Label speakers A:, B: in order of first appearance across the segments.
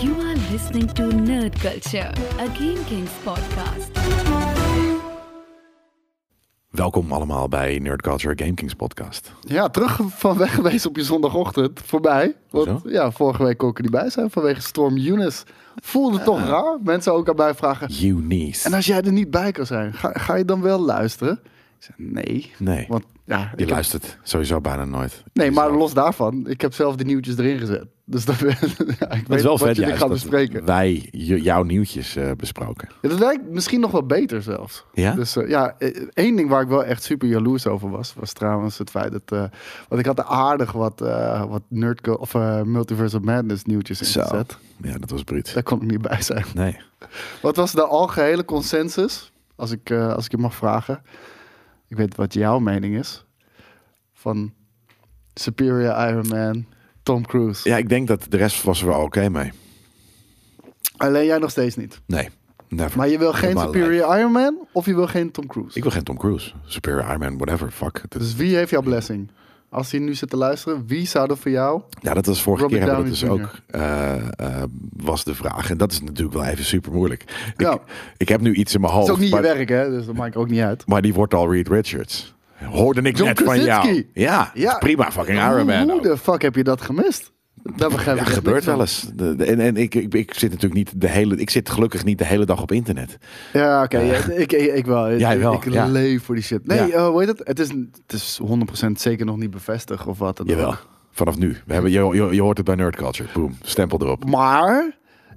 A: You are listening to Nerd Culture, a Game Kings podcast.
B: Welkom allemaal bij Nerd Culture Game Kings podcast.
C: Ja, terug van weg geweest op je zondagochtend. Voorbij. Want
B: Hoezo?
C: ja, vorige week kon ik er niet bij zijn vanwege Storm Eunice. Voelde toch
B: Ah.
C: raar? Mensen ook erbij vragen.
B: Eunice.
C: En als jij er niet bij kan zijn, ga, ga je dan wel luisteren? Ik zei, nee.
B: Nee,
C: Want ja, ik
B: je
C: heb-
B: luistert sowieso bijna nooit.
C: nee, maar
B: Jezelf.
C: los daarvan. Ik heb zelf de nieuwtjes erin gezet. Dus dat, ja, ik
B: Het
C: weet
B: is wel
C: wel
B: vet
C: wat jullie
B: juist
C: gaan
B: dat
C: bespreken.
B: wij j- jouw nieuwtjes eh, besproken.
C: Ja, dat lijkt misschien nog wel beter zelfs.
B: Ja?
C: Dus eh, ja, eh, één ding waar ik wel echt super jaloers over was, was trouwens het feit dat... eh want ik had er aardig wat, eh wat nerd of eh, Multiverse of Madness nieuwtjes in gezet.
B: Ja, dat was bruut.
C: Daar kon ik niet bij zijn.
B: Nee.
C: Wat was de algehele consensus, als ik, eh, als ik je mag vragen? Ik weet wat jouw mening is. Van Superior Iron Man, Tom Cruise.
B: Ja, ik denk dat de rest was er wel oké mee.
C: Alleen jij nog steeds niet.
B: Nee, never.
C: Maar je wil
B: Not
C: geen
B: my
C: Superior
B: life.
C: Iron Man of je wil geen Tom Cruise?
B: Ik wil geen Tom Cruise. Superior Iron Man, whatever. Fuck. Het is-
C: Dus wie heeft jouw blessing? Als hij nu zit te luisteren, wie zou er voor jou...
B: Ja, dat was vorige
C: Robert
B: keer hebben we dat dus
C: Downey
B: ook eh, eh, was de vraag. En dat is natuurlijk wel even super moeilijk.
C: Ja.
B: Ik, ik heb nu iets in mijn hoofd.
C: Het is ook niet
B: Oh, maar-
C: je werk, hè? Dus dat maakt ook niet uit.
B: Maar die wordt al Reed Richards. Hoorde ik
C: John
B: net van jou.
C: Krasinski.
B: Ja,
C: Ja.
B: prima fucking Iron Man.
C: Hoe
B: ook.
C: de fuck heb je dat gemist? Dat begrijp
B: Ja,
C: ik echt
B: gebeurt
C: niks van.
B: wel eens. De- de- en en ik, ik, ik zit natuurlijk niet de hele... Ik zit gelukkig niet de hele dag op internet.
C: Ja, oké. ja, ik, ik, ik wel.
B: Jij
C: ik,
B: wel,
C: ik
B: ja.
C: leef voor die shit. Nee,
B: Ja.
C: eh, hoe heet het? Het is, het is 100% zeker nog niet bevestigd of wat dan ook.
B: Jawel, vanaf nu. We hebben, je, je, je hoort het bij Nerd Culture. Boom, stempel erop.
C: Maar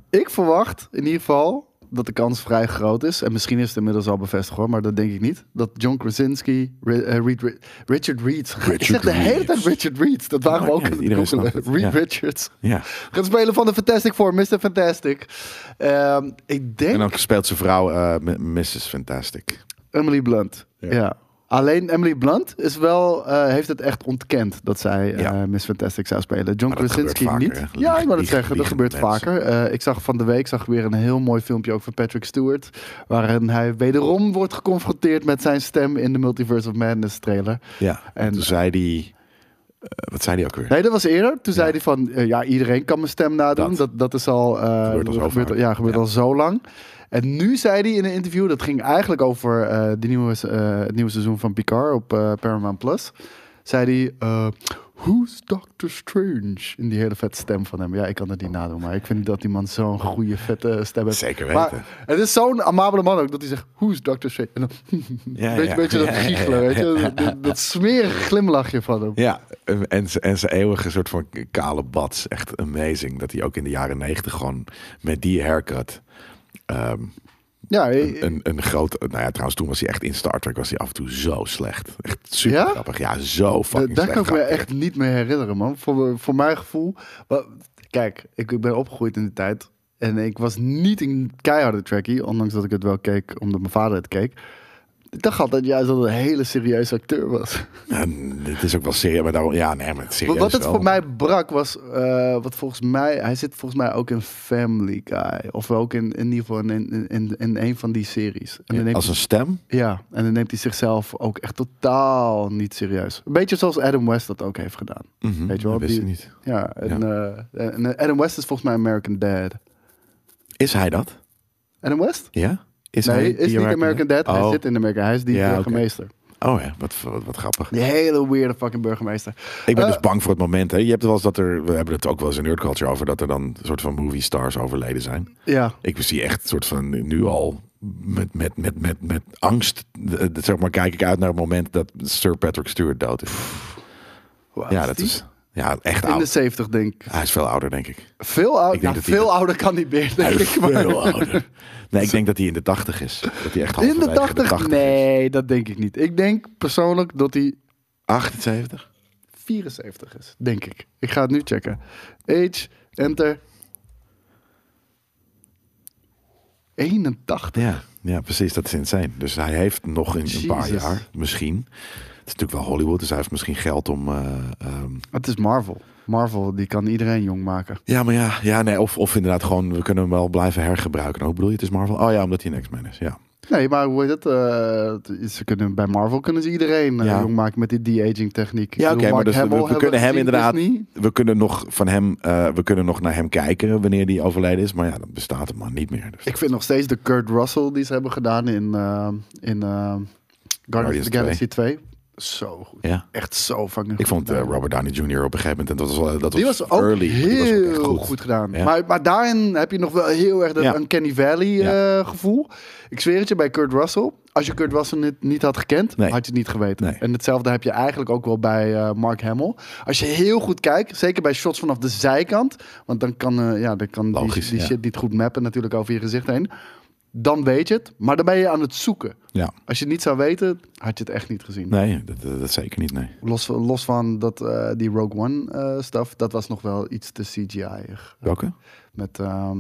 C: ik verwacht in ieder geval dat de kans vrij groot is. En misschien is het inmiddels al bevestigd hoor, maar dat denk ik niet. Dat John Krasinski, Ri- eh, Reed Ri- Richard Reed. ik zeg de hele
B: Reed.
C: tijd Richard Reed. Dat waren we
B: Ja,
C: ook
B: Oh, ja,
C: aan
B: iedereen
C: het googelen.
B: snapt het,
C: Reed
B: ja.
C: Richards.
B: Ja.
C: Gaat spelen van de Fantastic Four, Mr. Fantastic. Ehm, ik denk
B: En dan speelt zijn vrouw eh, M- Mrs. Fantastic.
C: Emily Blunt.
B: Ja.
C: Ja. Alleen Emily Blunt is wel, eh, heeft het echt ontkend dat zij eh,
B: Ja.
C: Miss Fantastic zou spelen. John
B: Maar dat
C: Krasinski
B: gebeurt vaker,
C: niet.
B: hè?
C: Ja, ik
B: Liegen-
C: wou het zeggen, dat
B: liegen
C: gebeurt
B: mensen.
C: vaker. Eh, ik zag van de week zag ik weer een heel mooi filmpje ook van Patrick Stewart. Waarin hij wederom wordt geconfronteerd met zijn stem in de Multiverse of Madness trailer.
B: Ja, en
C: En-
B: toen zei die... eh, wat zei die ook weer?
C: Nee, dat was eerder. Toen zei hij van, eh, ja, iedereen kan mijn stem nadoen.
B: Dat.
C: Dat, dat, is al, eh,
B: Gebeurt al zo
C: gebeurt,
B: vaak.
C: ja, gebeurt
B: Ja.
C: al zo lang. En nu zei hij in een interview, dat ging eigenlijk over eh, die nieuwe, se- eh, het nieuwe seizoen van Picard op eh, Paramount+. Plus. Zei hij, eh, who's Doctor Strange? In die hele vette stem van hem. Ja, ik kan het niet nadoen, maar ik vind dat die man zo'n goede vette stem heeft.
B: Zeker weten.
C: Maar het is zo'n amabele man ook, dat hij zegt, who's Doctor Strange? En dan,
B: Ja,
C: weet je,
B: ja.
C: beetje dat
B: Ja, ja,
C: giechelen,
B: ja.
C: weet je? Dat, dat smerige glimlachje van hem.
B: Ja, en- en, z'n- en zijn eeuwige soort van kale bats. Echt amazing. Dat hij ook in de jaren negentig gewoon met die haircut... ehm,
C: Ja,
B: een, een, een groot... Nou ja, trouwens, toen was hij echt in Star Trek was hij af en toe zo slecht. Echt super
C: Ja?
B: grappig. Ja, zo
C: Da-
B: fucking
C: Eh, Daar kan
B: slecht.
C: ik me
B: geacteerd.
C: echt niet meer herinneren, man. Voor, voor mijn gevoel. wa- Kijk, ik, ik ben opgegroeid in die tijd. En ik was niet een keiharde trackie. Ondanks dat ik het wel keek, omdat mijn vader het keek. Ik dacht altijd juist dat het een hele serieuze acteur was.
B: En dit is ook wel serieus, maar daarom... Ja, nee, maar het is serieus
C: Wat, wat het
B: wel.
C: voor mij brak was, eh, wat volgens mij, hij zit volgens mij ook in Family Guy. Of ook in, in ieder geval in, in, in, in een van die series. En dan neemt
B: Als een stem?
C: ja, en dan neemt hij zichzelf ook echt totaal niet serieus. Een beetje zoals Adam West dat ook heeft gedaan.
B: Mhm,
C: Weet je wel,
B: dat wist
C: die-
B: ik niet.
C: Ja, en, eh, en eh, Adam West is volgens mij American Dad.
B: Is hij dat?
C: Adam West?
B: Ja? Is
C: nee,
B: hij
C: is
B: die
C: niet American Dad.
B: Oh.
C: Hij zit in Amerika. Hij is die
B: Ja, oké.
C: burgemeester.
B: Oh ja, wat, wat, wat grappig.
C: Die hele weirde fucking burgemeester.
B: Ik ben
C: Eh,
B: dus bang voor het moment. Hè. Je hebt wel eens dat er, we hebben het ook wel eens in Nerd Culture over, dat er dan een soort van movie stars overleden zijn.
C: Ja,
B: Ik zie echt een soort van nu al met, met, met, met, met angst, eh, zeg maar, kijk ik uit naar het moment dat Sir Patrick Stewart dood is.
C: Hoe oud
B: ja, dat
C: die?
B: is ja, echt
C: In de
B: oud.
C: 70 denk ik.
B: Hij is veel ouder, denk ik.
C: Veel,
B: Ik denk
C: ouder. ja,
B: dat die-
C: veel ouder kan niet meer,
B: Hij
C: denk
B: is
C: ik. maar-
B: veel ouder. Nee, ik denk dat hij in de 80 is. Dat hij echt
C: In de
B: halverwege
C: 80?
B: 80 is.
C: Nee, dat denk ik niet. Ik denk persoonlijk dat hij
B: 78?
C: 74 is, denk ik. Ik ga het nu checken. Age, enter. 81.
B: Ja, ja, precies. Dat is insane. Dus hij heeft nog in een paar
C: Jezus.
B: jaar, misschien. Het is natuurlijk wel Hollywood, dus hij heeft misschien geld om. eh, ehm,
C: Het is Marvel. Marvel, die kan iedereen jong maken.
B: Ja, maar ja, Nou, ja nee, of, of inderdaad gewoon, we kunnen hem wel blijven hergebruiken. Hoe bedoel je, het is Marvel? Oh ja, omdat hij een X-Men is, ja.
C: Ja, Nee, maar hoe heet het? eh, het- ze kunnen, bij Marvel kunnen ze iedereen eh,
B: Ja.
C: jong maken met die de-aging techniek.
B: Ja,
C: Ik bedoel,
B: oké, maar
C: Mark
B: dus we-
C: Hamill
B: we
C: hebben
B: kunnen hem
C: gezien,
B: inderdaad-
C: Disney.
B: We kunnen nog van hem, eh, we kunnen nog naar hem kijken wanneer die overleden is. Maar ja, dat bestaat hem maar niet meer. Dus
C: Ik vind nog steeds de Kurt Russell die ze hebben gedaan in, eh, in eh, Guardians
B: Guardians
C: of the Galaxy 2. Zo goed.
B: Ja.
C: Echt zo fucking
B: Ik vond eh,
C: goed.
B: Robert Downey Jr. op een gegeven moment, en dat was, wel- dat
C: Die
B: was,
C: was ook
B: early, maar die was ook
C: heel
B: echt
C: goed.
B: goed.
C: gedaan.
B: Ja.
C: Maar, maar daarin heb je nog wel heel erg dat
B: Ja.
C: Uncanny Valley
B: Ja.
C: eh, gevoel. Ik zweer het je, bij Kurt Russell... Als je Kurt Russell niet, niet had gekend,
B: Nee.
C: had je het niet geweten.
B: Nee.
C: En hetzelfde heb je eigenlijk ook wel bij eh, Mark Hamill. Als je heel goed kijkt, zeker bij shots vanaf de zijkant... want dan kan, eh, ja, dan kan
B: Logisch,
C: die, die
B: ja.
C: shit niet goed mappen natuurlijk over je gezicht heen. Dan weet je het, maar dan ben je aan het zoeken.
B: Ja,
C: Als je het niet zou weten, had je het echt niet gezien.
B: nee, dat, dat, dat zeker niet, nee.
C: Los, los van dat, eh, die Rogue One eh stuff, dat was nog wel iets te CGI-ig.
B: Welke?
C: Met, ehm,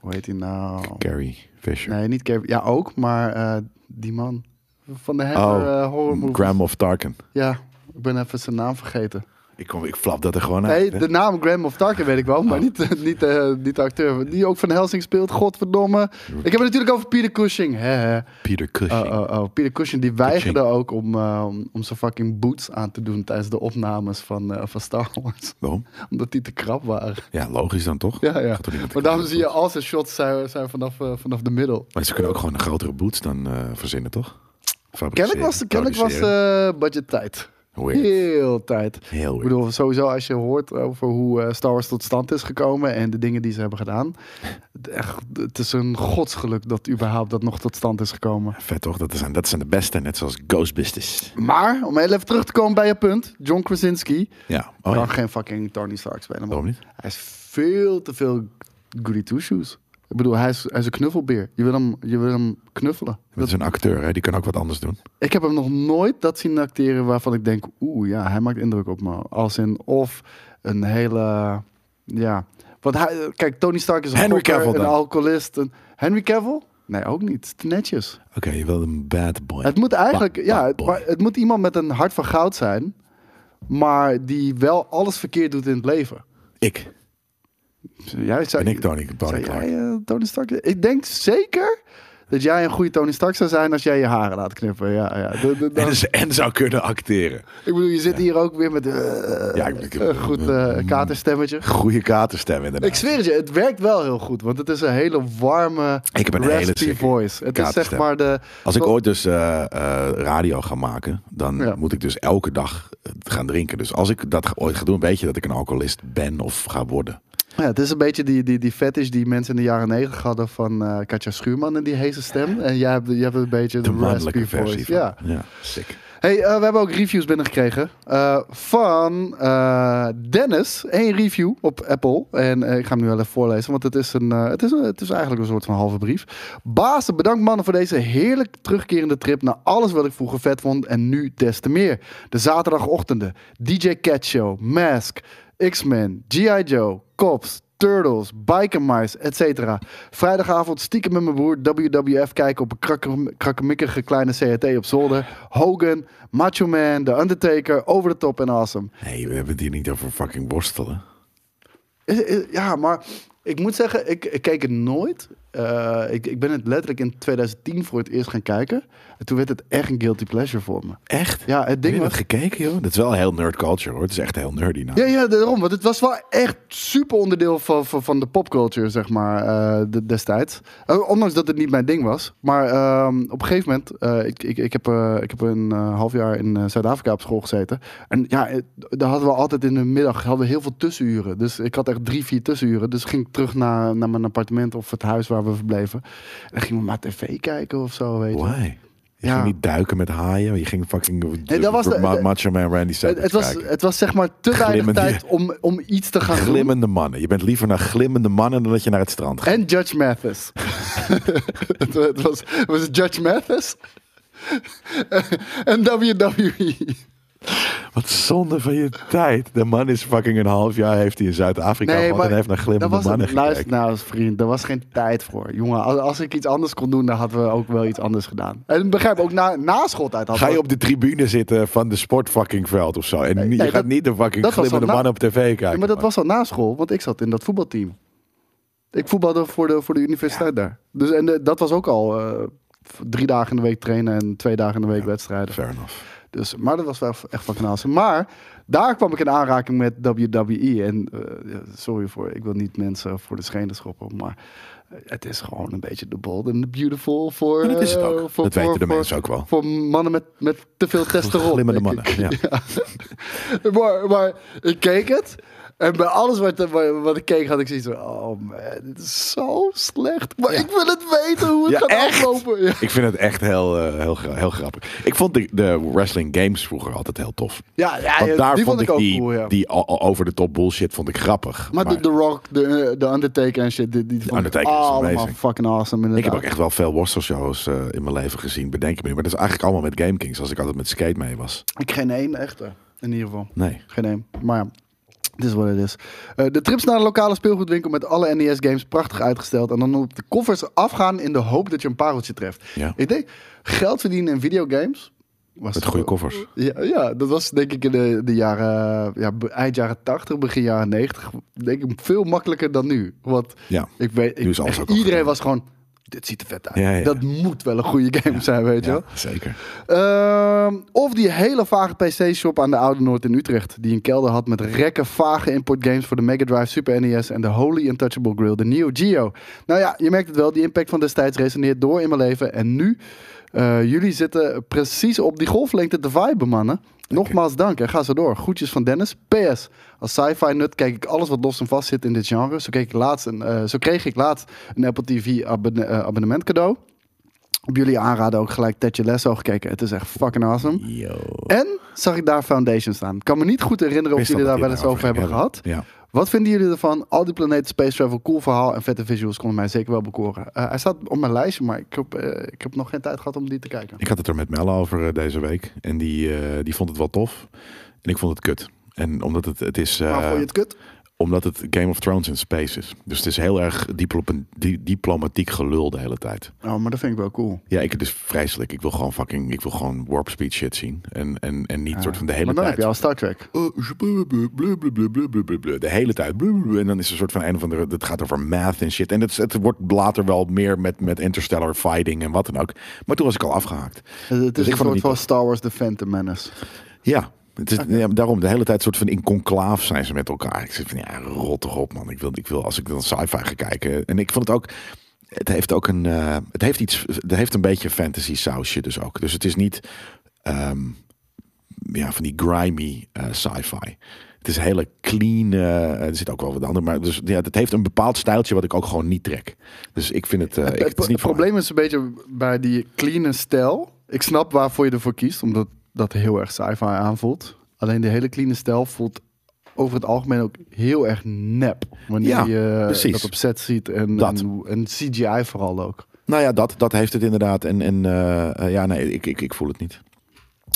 C: hoe heet hij nou?
B: Carrie Fisher.
C: Nee, niet Carrie. Ja, ook, maar eh, die man van de Hammer
B: Oh,
C: eh, horror movies.
B: Graham of Tarkin.
C: Ja, ik ben even zijn naam vergeten.
B: Ik, kom, ik flap dat er gewoon
C: Nee,
B: uit. hè?
C: de naam Graham of Tarkin weet ik wel, maar
B: Oh.
C: niet, niet, eh, niet de acteur. Die ook Van Helsing speelt, godverdomme. Ik heb het natuurlijk over Peter Cushing. hè, hè.
B: Peter
C: Oh,
B: Cushing.
C: oh, oh. Peter Cushing die weigerde ook om, eh, om, om zijn fucking boots aan te doen tijdens de opnames van, eh, van Star Wars.
B: Waarom?
C: Omdat die te krap waren.
B: Ja, logisch dan toch?
C: Ja, ja.
B: Gaat toch niet met de
C: Maar daarom
B: kant
C: zie je al zijn shots zijn, zijn vanaf, eh, vanaf de middel.
B: Maar ze kunnen ook gewoon een grotere boots dan eh, verzinnen, toch?
C: Kennelijk
B: Fabriceren,
C: was, kennelijk was
B: produceren.
C: eh, budget tijd.
B: Weird.
C: Heel tijd.
B: Heel
C: Ik
B: weird.
C: bedoel, sowieso als je hoort over hoe eh, Star Wars tot stand is gekomen en de dingen die ze hebben gedaan. het- Echt, het is een godsgeluk dat überhaupt dat nog tot stand is gekomen.
B: Vet toch? Dat zijn, dat zijn de beste, net zoals Ghostbusters.
C: Maar, om heel even terug te komen bij je punt. John Krasinski
B: Ja. Oh,
C: kan
B: ja.
C: geen fucking Tony Stark spelen. man.
B: Waarom niet?
C: Hij is veel te veel goody two-shoes. Ik bedoel, hij is, hij is een knuffelbeer. Je wil hem, je wil hem knuffelen.
B: Dat is een acteur, hè? die kan ook wat anders doen.
C: Ik heb hem nog nooit dat zien acteren waarvan ik denk, oeh ja, hij maakt indruk op me. Als in of een hele, ja. Want hij, kijk, Tony Stark is een,
B: Henry
C: gokker,
B: Cavill
C: een
B: dan.
C: alcoholist. Een, Henry Cavill? Nee, ook niet. Het is te netjes.
B: Oké, je wil een bad boy.
C: Het moet eigenlijk,
B: Bad
C: ja, het,
B: boy.
C: maar het moet iemand met een hart van goud zijn, maar die wel alles verkeerd doet in het leven.
B: Ik.
C: Jij zou,
B: Ben ik Tony, Tony
C: zou
B: Clark.
C: jij, eh, Tony Stark? Ik denk zeker dat jij een goede Tony Stark zou zijn als jij je haren laat knippen. Ja, ja. De- de- dan-
B: En, ze- en zou kunnen acteren.
C: Ik bedoel, je zit hier ook weer met eh,
B: Ja, ik- ik-
C: een goed eh, katerstemmetje.
B: Goede katerstem inderdaad.
C: Ik zweer het je, het werkt wel heel goed, want het is een hele warme,
B: Ik heb een hele
C: raspy
B: sick
C: voice. Het is zeg
B: katerstem.
C: maar de...
B: Als ik ooit dus eh, eh, radio ga maken, dan
C: Ja.
B: moet ik dus elke dag eh, gaan drinken. Dus als ik dat ga- ooit ga doen, weet je dat ik een alcoholist ben of ga worden.
C: Ja, het is een beetje die, die, die fetish die mensen in de jaren negentig hadden van eh, Katja Schuurman en die heze stem. En jij hebt, jij hebt een beetje
B: De
C: de, raspy
B: mannelijke versie.
C: voice.
B: Van.
C: Ja.
B: sick.
C: Hey, eh, we hebben ook reviews binnengekregen eh, van eh, Dennis. Eén review op Apple. En eh, ik ga hem nu wel even voorlezen, want het is, een, eh, het, is een- het is eigenlijk een soort van halve brief. Bazen, bedankt mannen voor deze heerlijk terugkerende trip naar alles wat ik vroeger vet vond en nu des te meer. De zaterdagochtenden, DJ Cat Show, Mask, X-Men, G.I. Joe, Cops, Turtles, Bike and Mice, etc. Vrijdagavond stiekem met mijn broer WWF kijken op een krakke- krakkemikkige kleine CRT op zolder. Hogan, Macho Man, The Undertaker, Over the Top en Awesome.
B: Nee, we hebben het hier niet over fucking worstelen.
C: Eh, eh, Ja, maar ik moet zeggen, ik, ik keek het nooit. Eh, ik, ik ben het letterlijk in 2010 voor het eerst gaan kijken. En toen werd het echt een guilty pleasure voor me.
B: Echt?
C: Ja, het ding
B: Heb je dat
C: was-
B: gekeken, joh? Dat is wel heel nerd culture, hoor. Het is echt heel nerdy nou.
C: Ja, ja, daarom. Want het was wel echt super onderdeel van, van, van de popculture, zeg maar, eh, de- destijds. Eh, ondanks dat het niet mijn ding was. Maar ehm, op een gegeven moment, eh, ik, ik, ik, heb, eh, ik heb een eh, half jaar in eh, Zuid-Afrika op school gezeten. En ja, eh, daar hadden we altijd in de middag hadden we heel veel tussenuren. Dus ik had echt drie, vier tussenuren. Dus ik ging terug naar, naar mijn appartement of het huis waar we verbleven. En dan gingen we maar tv kijken of zo, weet je.
B: Why? Je
C: Ja.
B: ging niet duiken met haaien. Je ging fucking
C: Nee, dat was de-
B: Ma-
C: de-
B: Macho Man Randy
C: Het,
B: Savage
C: het, was,
B: kijken.
C: het was zeg maar te weinig
B: Glimmende-
C: tijd om, om iets te gaan doen.
B: Glimmende mannen. Je bent liever naar glimmende mannen dan dat je naar het strand gaat.
C: En Judge Mathis. het, wa- het was, het was Judge Mathis. en E. WWE.
B: Wat zonde van je tijd. De man is fucking een half jaar heeft hij in Zuid-Afrika gehad en heeft naar
C: dat
B: glimmende
C: was
B: mannen gekeken.
C: Luister nou eens, vriend. Er was geen tijd voor. Jongen, als, als ik iets anders kon doen, dan hadden we ook wel iets anders gedaan. En begrijp ook, na, na schooltijd hadden
B: Ga je
C: we-
B: op de tribune zitten van de sportfucking veld of zo. En je
C: nee,
B: gaat
C: dat-
B: niet de fucking
C: dat was
B: glimmende
C: al na-
B: mannen op tv kijken.
C: Ja, maar dat
B: man.
C: was al na school, want ik zat in dat voetbalteam. Ik voetbalde voor de, voor de universiteit daar. Dus, en eh, dat was ook al eh, drie dagen in de week trainen en twee dagen in de week wedstrijden.
B: Fair enough.
C: Dus, maar dat was wel echt van knalsen. Maar daar kwam ik in aanraking met WWE. En eh, ja, sorry voor, ik wil niet mensen voor de schenen schoppen. Maar eh, het is gewoon een beetje de bold en de beautiful voor.
B: En dat is het
C: eh,
B: ook.
C: Voor,
B: Dat weten
C: voor-
B: de
C: voor-
B: mensen ook wel.
C: Voor mannen met, met te veel testosteron.
B: Glimmende
C: denk
B: mannen.
C: ik.
B: Ja.
C: maar, maar ik keek het. En bij alles wat, wat- wat ik keek had ik zoiets van... Oh man, dit is zo slecht. Maar ik wil het weten hoe het
B: Ja,
C: gaat
B: echt?
C: aflopen. Ja.
B: Ik vind het echt heel, eh, heel, gra- heel grappig. Ik vond de, de wrestling games vroeger altijd heel tof.
C: Ja, ja,
B: Want
C: ja,
B: daar
C: die
B: vond ik,
C: ook
B: die,
C: cool, ja.
B: die o- o- over de top bullshit vond ik grappig.
C: Maar, de, The Rock, de, de Undertaker en shit, die, die vond ik
B: Undertaker is
C: allemaal
B: amazing.
C: fucking awesome. Inderdaad.
B: ik heb ook echt wel veel worstelshows eh in mijn leven gezien, bedenk ik me nu. Maar dat is eigenlijk allemaal met Game Kings, als ik altijd met skate mee was.
C: Ik geen één echte, in ieder geval.
B: Nee.
C: Geen één. Maar ja, dit is wat het is. Eh, de trips naar de lokale speelgoedwinkel met alle NES-games prachtig uitgesteld. En dan op de koffers afgaan in de hoop dat je een pareltje treft.
B: Ja.
C: Ik denk, geld verdienen in videogames... Was
B: Met goede koffers.
C: Ja, ja, dat was denk ik in de, de jaren, ja, be- eind jaren 80, begin jaren 90. Denk ik veel makkelijker dan nu. Want
B: Ja.
C: ik weet, ik,
B: Nu is alles
C: echt
B: ook al
C: iedereen
B: gedaan.
C: was gewoon, dit ziet er vet uit.
B: Ja, ja, ja.
C: Dat moet wel een goede game zijn, weet je
B: Ja,
C: wel.
B: zeker.
C: Ehm, of die hele vage PC-shop aan de Oude Noord in Utrecht. Die een kelder had met rekken vage importgames voor de Mega Drive, Super NES en de Holy Untouchable Grill, de Neo Geo. Nou ja, je merkt het wel, die impact van destijds resoneert door in mijn leven. En nu, eh, jullie zitten precies op die golflengte te viben, mannen. Nogmaals dank en ga zo door. Groetjes van Dennis. PS. Als sci-fi nut kijk ik alles wat los en vast zit in dit genre. Zo, keek ik laatst een, eh, zo kreeg ik laatst een Apple TV abonne- eh, abonnement cadeau op jullie aanraden ook gelijk Ted Lasso gekeken. Het is echt fucking awesome.
B: Yo.
C: En zag ik daar Foundation staan. Ik kan me niet goed herinneren of
B: Wist
C: jullie
B: dat
C: daar
B: dat
C: wel eens
B: hier
C: over hebben gehad.
B: Ja.
C: Wat vinden jullie ervan? Al die planeten, space travel, cool verhaal en vette visuals konden mij zeker wel bekoren. Eh, hij staat op mijn lijstje, maar ik heb, eh, ik heb nog geen tijd gehad om die te kijken.
B: Ik had het er met Melle over eh, deze week. En die, eh, die vond het wel tof. En ik vond het kut. En omdat het, het is... eh,
C: maar vond je het kut?
B: Omdat het Game of Thrones in space is. Dus het is heel erg diploma- di- diplomatiek gelul de hele tijd.
C: Oh, maar dat vind ik wel cool.
B: Ja, ik het is vreselijk. Ik wil gewoon fucking, ik wil gewoon warp speed shit zien. En, en, en niet soort van de hele
C: maar dan
B: tijd.
C: heb je al Star Trek.
B: Eh, je blub, blub, blub, blub, blub, blub, blub, blub, De hele tijd. blub, blub, blub. En dan is er een soort van een of andere. Het gaat over math en shit. En het, het wordt later wel meer met, met interstellar fighting en wat dan ook. Maar toen was ik al afgehaakt.
C: Het is
B: Dus ik vond
C: een soort
B: het
C: van
B: niet
C: Star Wars The Phantom Menace.
B: Ja, het is, ja, daarom de hele tijd soort van in conclaaf zijn ze met elkaar. Ik zit van ja, rot toch op man. Ik wil, ik wil als ik dan sci-fi ga kijken. En ik vond het ook. Het heeft ook een. eh, het heeft iets. Het heeft een beetje fantasy sausje dus ook. Dus het is niet. ehm, ja, van die grimy eh, sci-fi. Het is hele clean. eh, er zit ook wel wat andere. Maar dus, ja, het heeft een bepaald stijltje wat ik ook gewoon niet trek. Dus ik vind het. eh, ik,
C: Het,
B: het is niet voor mij.
C: probleem is een beetje bij die clean stijl. Ik snap waarvoor je ervoor kiest, omdat dat heel erg sci-fi aanvoelt. Alleen de hele clean stijl voelt over het algemeen ook heel erg nep. Wanneer
B: Ja,
C: je
B: precies.
C: dat op set ziet en,
B: Dat.
C: en, en CGI vooral ook.
B: Nou ja, dat, dat heeft het inderdaad. En, en eh, eh, ja, nee, ik, ik, ik voel het niet.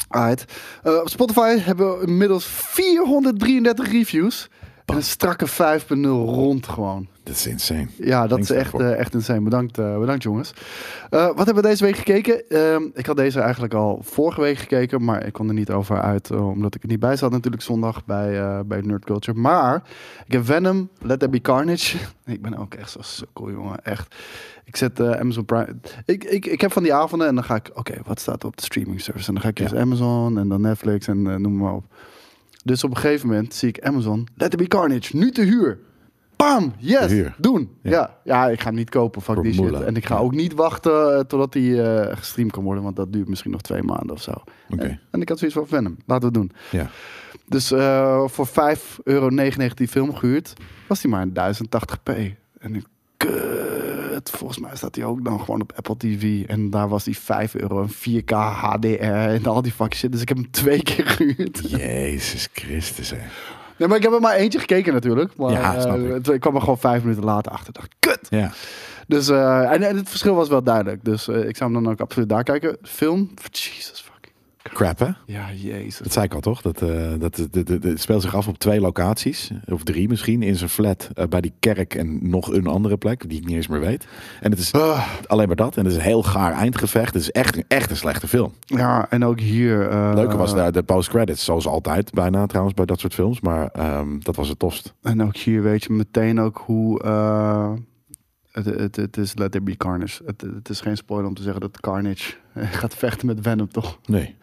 C: Alright. Eh, op Spotify hebben we inmiddels 433 reviews. En een strakke 5.0 rond gewoon.
B: Dat is insane.
C: Ja, dat
B: Thanks
C: is echt,
B: daarvoor.
C: eh, echt insane. Bedankt, eh, bedankt jongens. Eh, wat hebben we deze week gekeken? Ehm, ik had deze eigenlijk al vorige week gekeken, maar ik kon er niet over uit, eh, omdat ik er niet bij zat natuurlijk zondag bij, eh, bij Nerd Culture. Maar ik heb Venom, Let There Be Carnage. ik ben ook echt zo sukkel, jongen. Echt. Ik zet eh, Amazon Prime. Ik, ik, ik heb van die avonden en dan ga ik, oké, wat staat er op de streaming service? En dan ga ik eerst Amazon en dan Netflix en eh, noem maar op. Dus op een gegeven moment zie ik Amazon, Let There Be Carnage, nu te huur. Bam, yes,
B: Te huur.
C: doen. Ja.
B: Ja.
C: Ja. ik ga hem niet kopen, fuck
B: Voor
C: die shit.
B: moela.
C: En ik ga
B: Ja.
C: ook niet wachten eh, totdat hij eh, gestreamd kan worden, want dat duurt misschien nog twee maanden of zo.
B: Oké.
C: En, en ik had zoiets van Venom, laten we het doen.
B: Ja.
C: Dus eh, voor 5,99 euro die film gehuurd, was die maar in 1080p. En ik, kut, volgens mij staat die ook dan gewoon op Apple TV. En daar was die 5 euro en 4K HDR en al die fucking shit. Dus ik heb hem twee keer gehuurd.
B: Jezus Christus, hè.
C: Nee, maar ik heb er maar eentje gekeken natuurlijk. Maar
B: Ja, snap
C: eh,
B: ik.
C: het- ik kwam er gewoon vijf minuten later achter. Ik dacht, kut!
B: Ja.
C: Dus, eh, en, en het verschil was wel duidelijk. Dus eh, ik zou hem dan ook absoluut daar kijken. Film, Jesus fucking.
B: Crap, hè?
C: Ja, jezus.
B: Dat zei ik al, toch? Dat, eh, dat, dat- dat- dat- het speelt zich af op twee locaties. Of drie misschien. In zijn flat, eh, bij die kerk en nog een andere plek. Die ik niet eens meer weet. En het is
C: Ah.
B: alleen maar dat. En het is een heel gaar eindgevecht. Het is echt, een- echt een slechte film.
C: Ja, en ook hier. eh,
B: Leuker was daar de post-credits. Zoals altijd bijna trouwens bij dat soort films. Maar ehm, dat was het tofst.
C: En ook hier weet je meteen ook hoe... eh, Het, het, het is Let There Be Carnage. Het, het is geen spoiler om te zeggen dat Carnage eh, gaat vechten met Venom, toch?
B: Nee.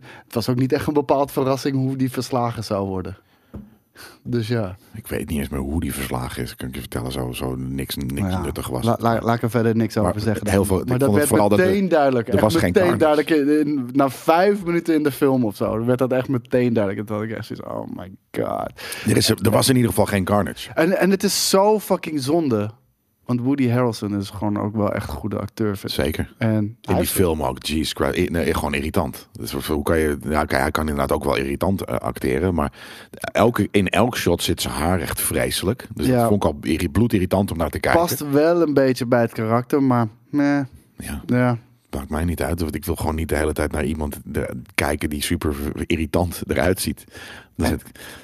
C: Het was ook niet echt een bepaald verrassing hoe die verslagen zou worden. Dus ja.
B: Ik weet niet eens meer hoe die verslagen is. Kan ik je vertellen, zo, zo niks, niks
C: Nou ja,
B: nuttig was.
C: la- la- laat ik er verder niks over
B: Maar
C: zeggen.
B: heel veel- ik
C: maar
B: vond
C: dat
B: het
C: werd
B: vooral dat
C: meteen
B: er-
C: duidelijk.
B: er
C: Echt
B: was geen
C: meteen
B: carnage.
C: duidelijk. in- in- na vijf minuten in de film of zo werd dat echt meteen duidelijk. Dat ik echt zoiets, oh my god.
B: er, is, er was in ieder geval geen Carnage.
C: En, en het is zo fucking zonde. Want Woody Harrelson is gewoon ook wel echt een goede acteur. Vind. ik.
B: Zeker.
C: En
B: In
C: hij
B: die
C: is-
B: film ook, jeez, Christ. I- nee, gewoon irritant. Dus hoe- hoe kan je, ja, oké, hij kan inderdaad ook wel irritant eh, acteren, maar elke, in elk shot zit zijn haar echt vreselijk. Dus
C: Ja.
B: dat vond ik al irri- bloedirritant om naar te kijken.
C: past wel een beetje bij het karakter, maar meh,
B: Ja,
C: ja.
B: maakt mij niet uit, want ik wil gewoon niet de hele tijd naar iemand de- kijken die super irritant eruit ziet. Dus het-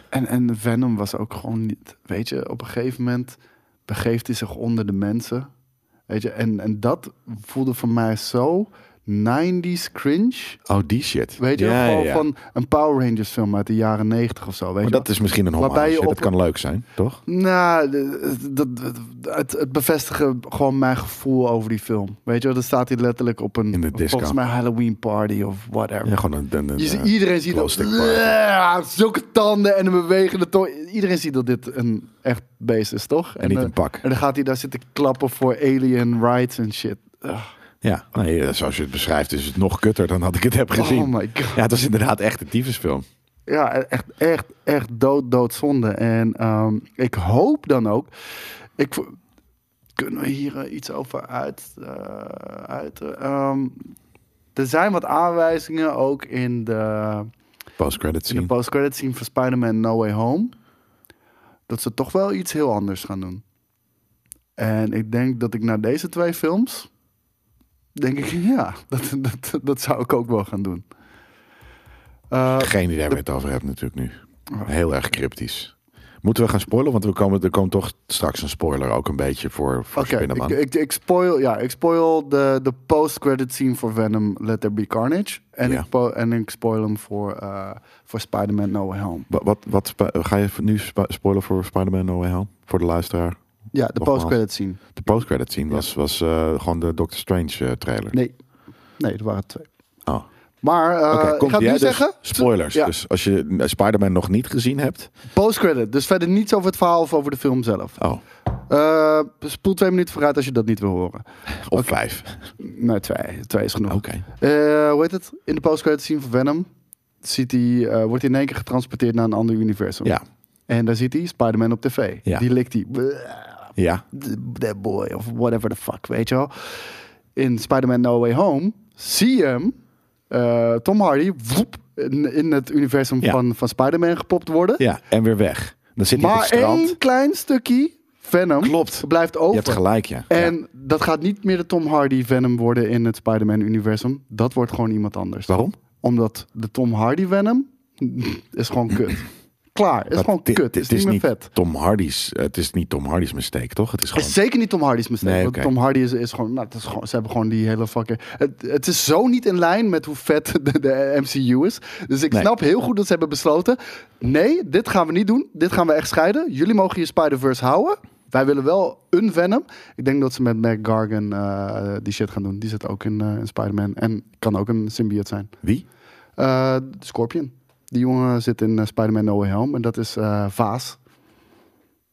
C: En, en Venom was ook gewoon niet. Weet je, op een gegeven moment begeeft hij zich onder de mensen. Weet je, en, en dat voelde voor mij zo 90s cringe.
B: oh, die shit.
C: Weet je,
B: Ja,
C: gewoon
B: ja, ja.
C: van een Power Rangers film uit de jaren 90 of zo. Weet
B: Maar
C: je
B: dat is misschien een
C: Waarbij
B: hommage.
C: je
B: hè?
C: op-
B: Dat kan leuk zijn, toch?
C: Nou, dat, dat- het, het bevestigen gewoon mijn gevoel over die film. Weet je, wel, dan staat hij letterlijk op een
B: In de disco.
C: volgens mij Halloween party of whatever.
B: Ja, gewoon een, een, een,
C: Je ziet-
B: eh,
C: iedereen ziet dat.
B: glow-stick party.
C: Ja, zulke tanden en een bewegende tong. Iedereen ziet dat dit een echt beest is, toch?
B: En niet
C: eh,
B: een pak.
C: En dan gaat hij daar zitten klappen voor alien rights en shit. Ugh.
B: Ja, nee, eh, zoals je het beschrijft is het nog kutter dan dat ik het heb gezien.
C: Oh my god.
B: Ja, het was inderdaad echt een tyfusfilm.
C: Ja, e- echt, echt, echt dood, dood zonde. En ehm, ik hoop dan ook. Ik, vo- kunnen we hier eh, iets over uit? eh, uit ehm, er zijn wat aanwijzingen ook in de.
B: Post-credits
C: in de
B: scene.
C: post-credit scene van Spider-Man No Way Home. Dat ze toch wel iets heel anders gaan doen. En ik denk dat ik na deze twee films. Denk ik, ja, dat, dat, dat zou ik ook wel gaan doen. Eh,
B: Geen idee waar je het over hebt natuurlijk nu.
C: Oh.
B: Heel erg cryptisch. Moeten we gaan spoilen? Want we komen, er komt toch straks een spoiler ook een beetje voor, voor
C: Oké,
B: Spider-Man.
C: ik, ik, ik spoil, ja, ik spoil de, de post-credit scene voor Venom Let There Be Carnage. En,
B: Ja.
C: ik, po- en ik spoil hem voor, eh, voor Spider-Man No Way Home.
B: Wa- Wat, wat, spo- ga je nu spo- spoilen voor Spider-Man No Way Home? Voor de luisteraar.
C: Ja, de
B: Nogmaals.
C: post-credit scene.
B: De post-credit scene was, was eh, gewoon de Doctor Strange eh, trailer.
C: Nee, nee, er waren twee.
B: Oh.
C: Maar eh
B: Oké,
C: ik
B: komt
C: ga
B: die,
C: het nu
B: hè? Dus
C: zeggen.
B: Spoilers.
C: Ja.
B: Dus als je eh, Spider-Man nog niet gezien hebt.
C: Postcredit, dus verder niets over het verhaal of over de film zelf.
B: Oh,
C: Eh, spoel twee minuten vooruit als je dat niet wil horen.
B: of vijf.
C: Nou, twee, twee is genoeg.
B: Oké.
C: Eh, hoe heet het? In de postcredit scene van Venom ziet hij, eh, wordt hij in één keer getransporteerd naar een ander universum.
B: Ja.
C: En daar ziet hij Spider-Man op tv.
B: Ja.
C: Die likt hij.
B: Ja.
C: That boy of whatever the fuck, weet je wel. In Spider-Man No Way Home zie je hem, eh, Tom Hardy, woep, in, in het universum
B: Ja.
C: van, van Spider-Man gepopt worden.
B: Ja. En weer weg. Dan zit hij op
C: Maar
B: het strand.
C: één klein stukje Venom
B: Klopt.
C: blijft
B: Je
C: over.
B: hebt gelijk, ja.
C: En
B: Ja.
C: dat gaat niet meer de Tom Hardy Venom worden in het Spider-Man-universum. Dat wordt gewoon iemand anders.
B: Waarom?
C: Omdat de Tom Hardy Venom is gewoon kut. Klaar, is
B: Dat-
C: gewoon
B: dit-
C: kut.
B: dit
C: Is niet meer vet.
B: Tom Hardy's, het is niet Tom Hardy's mistake, toch? Het is
C: Het
B: gewoon...
C: is zeker niet Tom Hardy's mistake.
B: Nee,
C: want
B: oké.
C: Tom Hardy is, is, gewoon, nou, het is gewoon... Ze hebben gewoon die hele fucking... Het, het is zo niet in lijn met hoe vet de, de MCU is. Dus ik
B: Nee.
C: snap heel goed dat ze hebben besloten... Nee, dit gaan we niet doen. Dit gaan we echt scheiden. Jullie mogen je Spider-Verse houden. Wij willen wel een Venom. Ik denk dat ze met Mac Gargan eh, die shit gaan doen. Die zit ook in, eh, in Spider-Man. En kan ook een symbiote zijn.
B: Wie?
C: Eh, Scorpion. Die jongen zit in eh, Spider-Man No Way Home. En dat is eh, Vaas.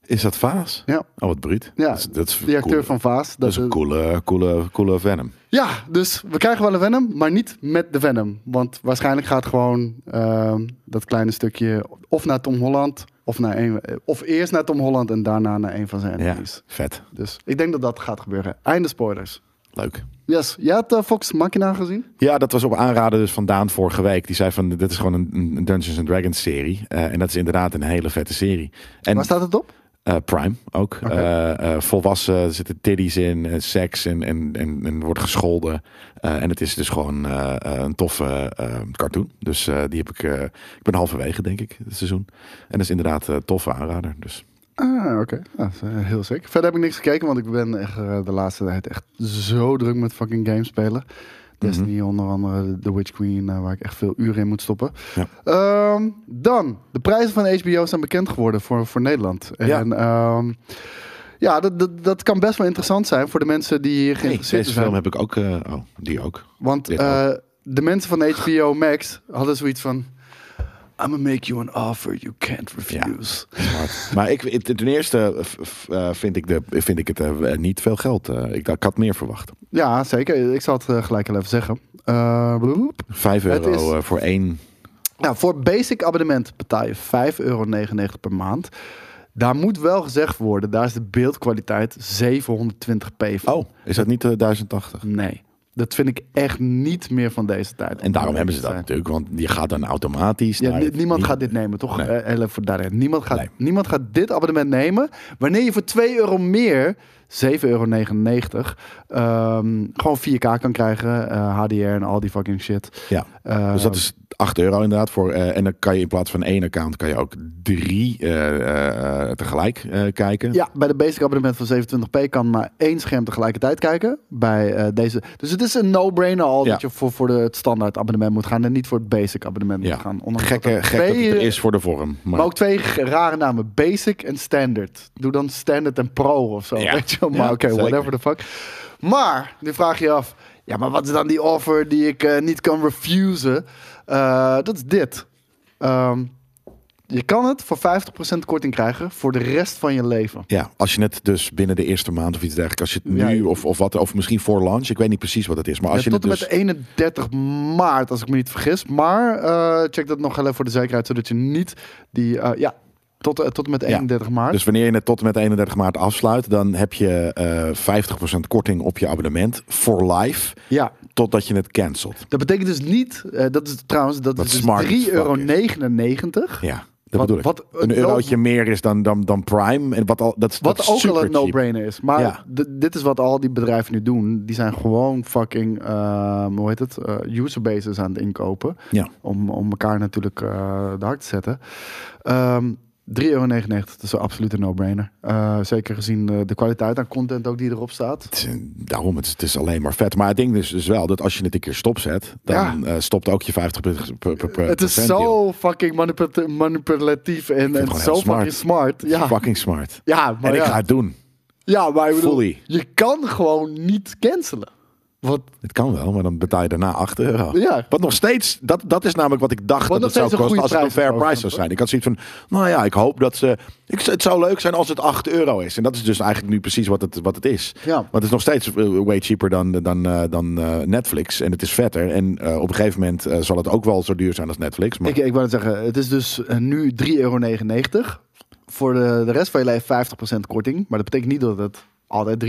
B: Is dat Vaas?
C: Ja,
B: Oh, wat bruut.
C: Ja,
B: dat is, dat is
C: die acteur
B: cool.
C: van Vaas.
B: Dat is een coole, coole, coole Venom.
C: Ja, dus we krijgen wel een Venom, maar niet met de Venom. Want waarschijnlijk gaat gewoon ehm, dat kleine stukje of naar Tom Holland, of, naar een, of eerst naar Tom Holland en daarna naar een van zijn
B: Ja,
C: enemies.
B: vet.
C: Dus ik denk dat dat gaat gebeuren. Einde spoilers.
B: Leuk.
C: Yes, jij had eh, Fox Machina gezien?
B: Ja, dat was op aanraden dus van Daan vorige week. Die zei van, dit is gewoon een, een Dungeons Dragons serie. Eh, en dat is inderdaad een hele vette serie. En
C: Waar staat het op?
B: eh, Prime ook.
C: Oké.
B: Eh, eh, volwassen, er zitten tiddies in, eh, seks en, en, en, en wordt gescholden. Eh, en het is dus gewoon eh, eh, een toffe eh, cartoon. Dus eh, die heb ik, eh, ik ben halverwege denk ik, het seizoen. En dat is inderdaad een toffe aanrader. Dus
C: Ah, oké. Nou, dat is, eh, heel sick. Verder heb ik niks gekeken, want ik ben echt, eh, de laatste tijd echt zo druk met fucking games spelen. Destiny
B: Mhm.
C: onder andere, The Witch Queen, eh, waar ik echt veel uren in moet stoppen.
B: Ja.
C: Ehm, dan, de prijzen van HBO zijn bekend geworden voor, voor Nederland.
B: Ja.
C: En ehm, Ja, dat, dat, dat kan best wel interessant zijn voor de mensen die hier
B: Nee,
C: geïnteresseerd
B: deze film
C: zijn.
B: heb ik ook. eh, oh, die ook.
C: Want
B: Dit
C: eh, de mensen van HBO Max hadden zoiets van... I'm gonna make you an offer you can't refuse.
B: Maar, maar ik, het- ten eerste eh, f- f- eh, vind, ik de, vind ik het eh, niet veel geld. eh. ik, ik had meer verwacht.
C: Ja, zeker. Ik zal het eh, gelijk al even zeggen. Eh, bloep.
B: Vijf
C: Het
B: euro
C: is-
B: eh, voor één.
C: nou, voor basic abonnement betaal je 5,99 euro per maand. Daar moet wel gezegd worden, daar is de beeldkwaliteit 720p van.
B: Oh, is dat niet eh, 1080?
C: Nee, dat vind ik echt niet meer van deze tijd.
B: En daarom hebben ze dat natuurlijk, want je gaat dan automatisch.
C: Ja,
B: naar
C: ni-
B: het-
C: niemand
B: nie-
C: gaat dit nemen, toch?
B: Nee.
C: Eh, heel even voor daarin. Niemand gaat,
B: Nee.
C: niemand gaat dit abonnement nemen. Wanneer je voor 2 euro meer, 7,99 euro, ehm, gewoon 4K kan krijgen. eh, HDR en al die fucking shit.
B: Ja.
C: Eh,
B: Dus dat is 8 euro inderdaad. Voor, eh, en dan kan je in plaats van één account kan je ook drie eh, eh, eh, tegelijk eh, kijken.
C: Ja, bij de basic abonnement van 27p kan maar één scherm tegelijkertijd kijken. Bij eh, deze. Dus het is een no-brainer al
B: Ja.
C: dat je voor, voor de, het standaard abonnement moet gaan en niet voor het basic abonnement
B: Ja.
C: moet gaan. Ondanks
B: Gekke,
C: dat er
B: gek dat
C: twee- eh,
B: het er is voor de vorm. Maar,
C: Maar ook twee g- rare namen. Basic en Standard. Doe dan Standard en Pro of zo.
B: Ja.
C: Weet je wel. Maar
B: Ja,
C: oké,
B: zeker.
C: whatever the fuck. Maar, nu vraag je je af. Ja, maar wat is dan die offer die ik eh, niet kan refusen? Eh, dat is dit. Ehm, je kan het voor 50% korting krijgen voor de rest van je leven.
B: ja, als je het dus binnen de eerste maand of iets dergelijks, als je het nu
C: Ja.
B: of, of wat, of misschien voor launch, ik weet niet precies wat het is, maar als
C: Ja,
B: je
C: tot
B: het
C: en
B: dus
C: met 31 maart, als ik me niet vergis. Maar eh, check dat nog heel even voor de zekerheid, zodat je niet die... eh, ja, tot, eh, tot en met 31 maart.
B: Dus wanneer je het tot en met 31 maart afsluit, dan heb je eh 50% korting op je abonnement for life,
C: ja,
B: totdat je het cancelt.
C: Dat betekent dus niet, eh, dat is trouwens, dat
B: Wat
C: is dus
B: smart as
C: 3,99
B: fuck
C: euro.
B: Ja, dat
C: Wat-
B: bedoel ik.
C: wat
B: een
C: een
B: eurotje meer is dan, dan, dan Prime. En wat al, dat, is- dat
C: Wat
B: is
C: ook
B: super
C: al een
B: cheap.
C: no-brainer is. Maar
B: Ja.
C: d- dit is wat al die bedrijven nu doen. Die zijn gewoon fucking, eh, hoe heet het, eh, userbases aan het inkopen.
B: Ja.
C: Om, om elkaar natuurlijk eh de hart te zetten. Ehm 3,99 euro, dat is een absolute no-brainer. Eh, zeker gezien eh, de kwaliteit aan content ook die erop staat.
B: Het is een- Daarom, het is, het is alleen maar vet. Maar het ding is dus wel dat als je het een keer stopzet, dan
C: Ja.
B: eh, stopt ook je 50%. per- per- per-
C: Het is
B: procent deal.
C: zo fucking manipulat- manipulatief en, en
B: het
C: zo
B: gewoon heel smart.
C: fucking smart. Ja,
B: Fucking smart.
C: ja maar
B: en
C: ja.
B: ik ga het doen.
C: Ja, maar ik bedoel,
B: Fully.
C: je kan gewoon niet cancelen. Wat,
B: Het kan wel, maar dan betaal je daarna 8 euro.
C: Ja.
B: Wat nog steeds, dat, dat is namelijk wat ik dacht
C: Wat
B: dat
C: nog
B: het zou
C: steeds een
B: kosten
C: goede
B: als het een
C: prijs is
B: fair price zou
C: overigens,
B: zijn. Ik had zoiets van, nou ja, ik hoop dat ze... Ik, het zou leuk zijn als het 8 euro is. En dat is dus eigenlijk nu precies wat het, wat het is.
C: Ja.
B: Want het is nog steeds eh, way cheaper dan, dan, eh, dan eh, Netflix. En het is vetter. En eh, op een gegeven moment eh, zal het ook wel zo duur zijn als Netflix. Maar
C: ik, ik wou net zeggen, het is dus eh, nu 3,99 euro. Voor de, de rest van je leven 50% korting. Maar dat betekent niet dat het altijd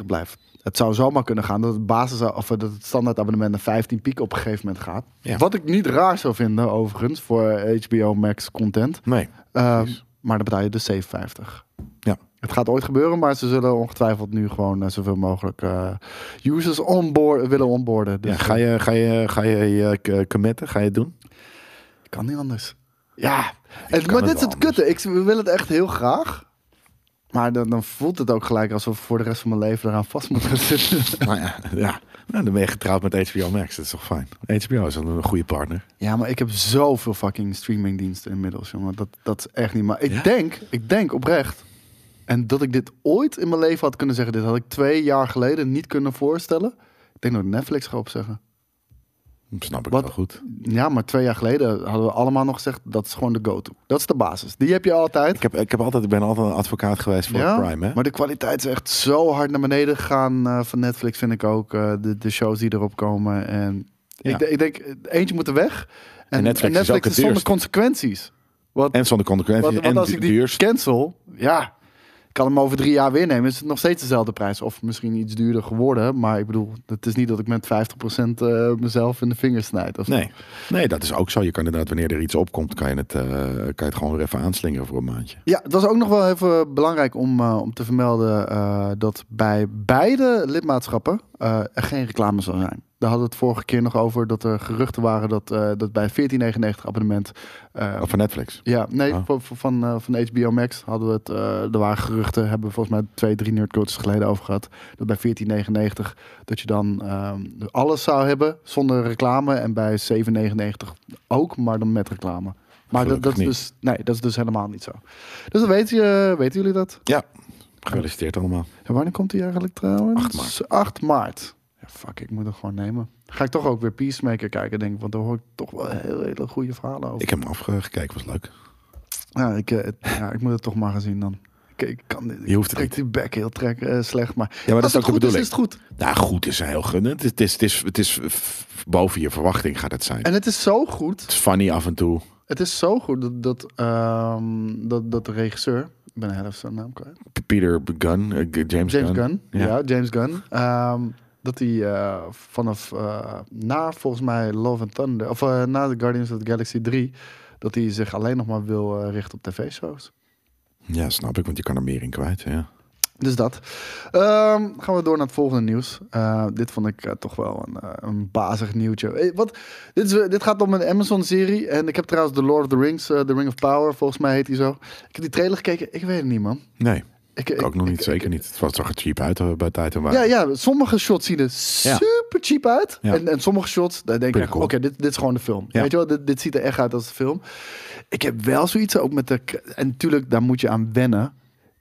C: 3,99 blijft. Het zou zomaar kunnen gaan dat het, basis, of dat het standaard abonnement naar 15 piek op een gegeven moment gaat.
B: Ja.
C: Wat ik niet raar zou vinden, overigens, voor HBO Max content.
B: nee.
C: Eh, maar dan betaal je dus 7,50.
B: Ja.
C: Het gaat ooit gebeuren, maar ze zullen ongetwijfeld nu gewoon eh, zoveel mogelijk eh, users onboard, willen onboarden. Dus
B: Ja, ga je ga je, ga je, je eh, committen? Ga je het doen?
C: Kan niet anders. Ja, en,
B: kan
C: maar
B: het
C: dit is
B: wel
C: het kutte. Ik wil het echt heel graag. Maar dan, dan voelt het ook gelijk alsof ik voor de rest van mijn leven eraan vast moet gaan zitten.
B: nou ja, ja. Nou, dan ben je getrouwd met HBO Max. Dat is toch fijn? HBO is dan een goede partner.
C: ja, maar ik heb zoveel fucking streamingdiensten inmiddels, jongen. Dat, dat is echt niet... Maar ik
B: Ja?
C: denk, ik denk oprecht... En dat ik dit ooit in mijn leven had kunnen zeggen... Dit had ik twee jaar geleden niet kunnen voorstellen. Ik denk dat ik Netflix ga opzeggen.
B: Snap ik
C: Wat-
B: wel goed.
C: Ja, maar twee jaar geleden hadden we allemaal nog gezegd... Dat is gewoon de go-to. Dat is de basis. Die heb je altijd.
B: Ik, heb, ik, heb altijd, ik ben altijd een advocaat geweest voor Prime. Hè?
C: Maar de kwaliteit is echt zo hard naar beneden gegaan eh, van Netflix, vind ik ook. eh, de, de shows die erop komen. En
B: Ja.
C: ik, de- ik denk, eh, eentje moet er weg. En, en
B: Netflix
C: Netflix,
B: is ook het
C: is, zonder
B: duurst.
C: consequenties. Want,
B: En zonder
C: want,
B: concurrentie.
C: want
B: En
C: als ik die
B: duurst.
C: cancel, ja, ik kan hem over drie jaar weer nemen. Is het nog steeds dezelfde prijs? Of misschien iets duurder geworden. Maar ik bedoel, het is niet dat ik met 50% eh, mezelf in de vingers snijd. Of zo.
B: Nee. nee, dat is ook zo. Je kan inderdaad, wanneer er iets opkomt, kan je het, eh, kan je het gewoon weer even aanslingeren voor een maandje.
C: Ja, het was ook nog wel even belangrijk om, eh, om te vermelden eh, dat bij beide lidmaatschappen eh, er geen reclame zal zijn. Daar hadden we het vorige keer nog over dat er geruchten waren dat, eh, dat bij 14,99 abonnement. eh,
B: Of van Netflix.
C: ja, nee,
B: Oh.
C: van, van- van, eh, van HBO Max hadden we het. eh er waren geruchten, hebben we volgens mij twee, drie nerdcoaches geleden over gehad. Dat bij 14,99 dat je dan ehm, alles zou hebben zonder reclame. En bij 7,99 ook, maar dan met reclame. Maar dat,
B: Gelukkig
C: dat, is
B: niet.
C: dus, nee, dat is dus helemaal niet zo. Dus dan weten, je, weten jullie dat.
B: Ja, Gefeliciteerd allemaal.
C: En wanneer komt die eigenlijk trouwens?
B: 8 maart.
C: 8 maart. Ja, fuck, ik moet hem gewoon nemen. Ga ik toch ook weer Peacemaker kijken, denk ik. Want daar hoor ik toch wel hele, hele goede verhalen over.
B: Ik heb hem afgekeken, was leuk.
C: Ja, ik, eh, het- ja, ik moet het toch maar gaan zien dan. Ik, ik kan dit.
B: Je hoeft het
C: trek die bek heel trek, eh, slecht, maar...
B: Ja, maar dat is ook
C: als het
B: de
C: goed
B: bedoeling.
C: Is, is het goed.
B: Nou, goed is heel gunnend. Het is, het is, het is, f- boven je verwachting gaat het zijn.
C: En het is zo goed.
B: Het is funny af en toe.
C: Het is zo goed dat, dat, ehm, dat, dat de regisseur... Ik ben de helft zijn naam kwijt.
B: P- Peter Gunn, eh, G- James,
C: James
B: Gunn.
C: Gunn.
B: Ja.
C: Ja. James Gunn. Ehm, dat hij eh, vanaf eh, na volgens mij Love and Thunder... Of eh, na The Guardians of the Galaxy 3... Dat hij zich alleen nog maar wil eh, richten op tv-shows.
B: Ja, snap ik, want je kan er meer in kwijt. Ja.
C: Dus dat. Ehm, gaan we door naar het volgende nieuws. Eh, dit vond ik eh, toch wel een, eh, een bazig nieuwtje. Hey, wat? Dit, is, eh, dit gaat om een Amazon-serie. En ik heb trouwens The Lord of the Rings, eh, The Ring of Power, volgens mij heet die zo. Ik heb die trailer gekeken. Ik weet het niet, man.
B: Nee,
C: Ik,
B: ik ook nog niet,
C: ik-
B: zeker niet. Het was- zag er cheap uit eh, bij tijd en waar.
C: Ja, ja, sommige shots zien er super cheap uit.
B: Ja.
C: En, en sommige shots, daar denk
B: Pretty
C: ik, echt,
B: cool.
C: oké, dit, dit is gewoon de film.
B: Ja.
C: Weet je wel, dit, dit ziet er echt uit als de film. Ik heb wel zoiets, ook met de... En natuurlijk, daar moet je aan wennen.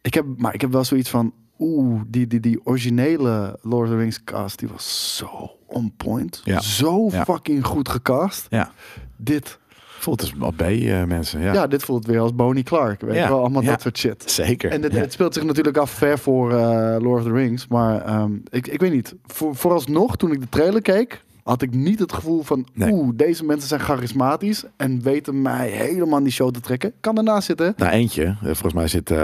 C: Ik heb, maar ik heb wel zoiets van, oeh, die, die, die originele Lord of the Rings cast, die was zo on point.
B: Ja.
C: Zo
B: Ja.
C: fucking goed gecast.
B: Ja.
C: Dit,
B: Voelt als al B eh, mensen. Ja,
C: ja. dit voelt weer als Bonnie Clark. Weet je
B: Ja.
C: wel, allemaal
B: Ja.
C: dat soort shit.
B: zeker.
C: En het,
B: Ja.
C: het speelt zich natuurlijk af ver voor eh, Lord of the Rings. Maar ehm, ik, ik weet niet. Voor, vooralsnog, toen ik de trailer keek, had ik niet het gevoel van...
B: Nee.
C: Oeh, deze mensen zijn charismatisch en weten mij helemaal in die show te trekken. Kan ernaast zitten.
B: Nou, eentje. eh, Volgens mij zit... eh,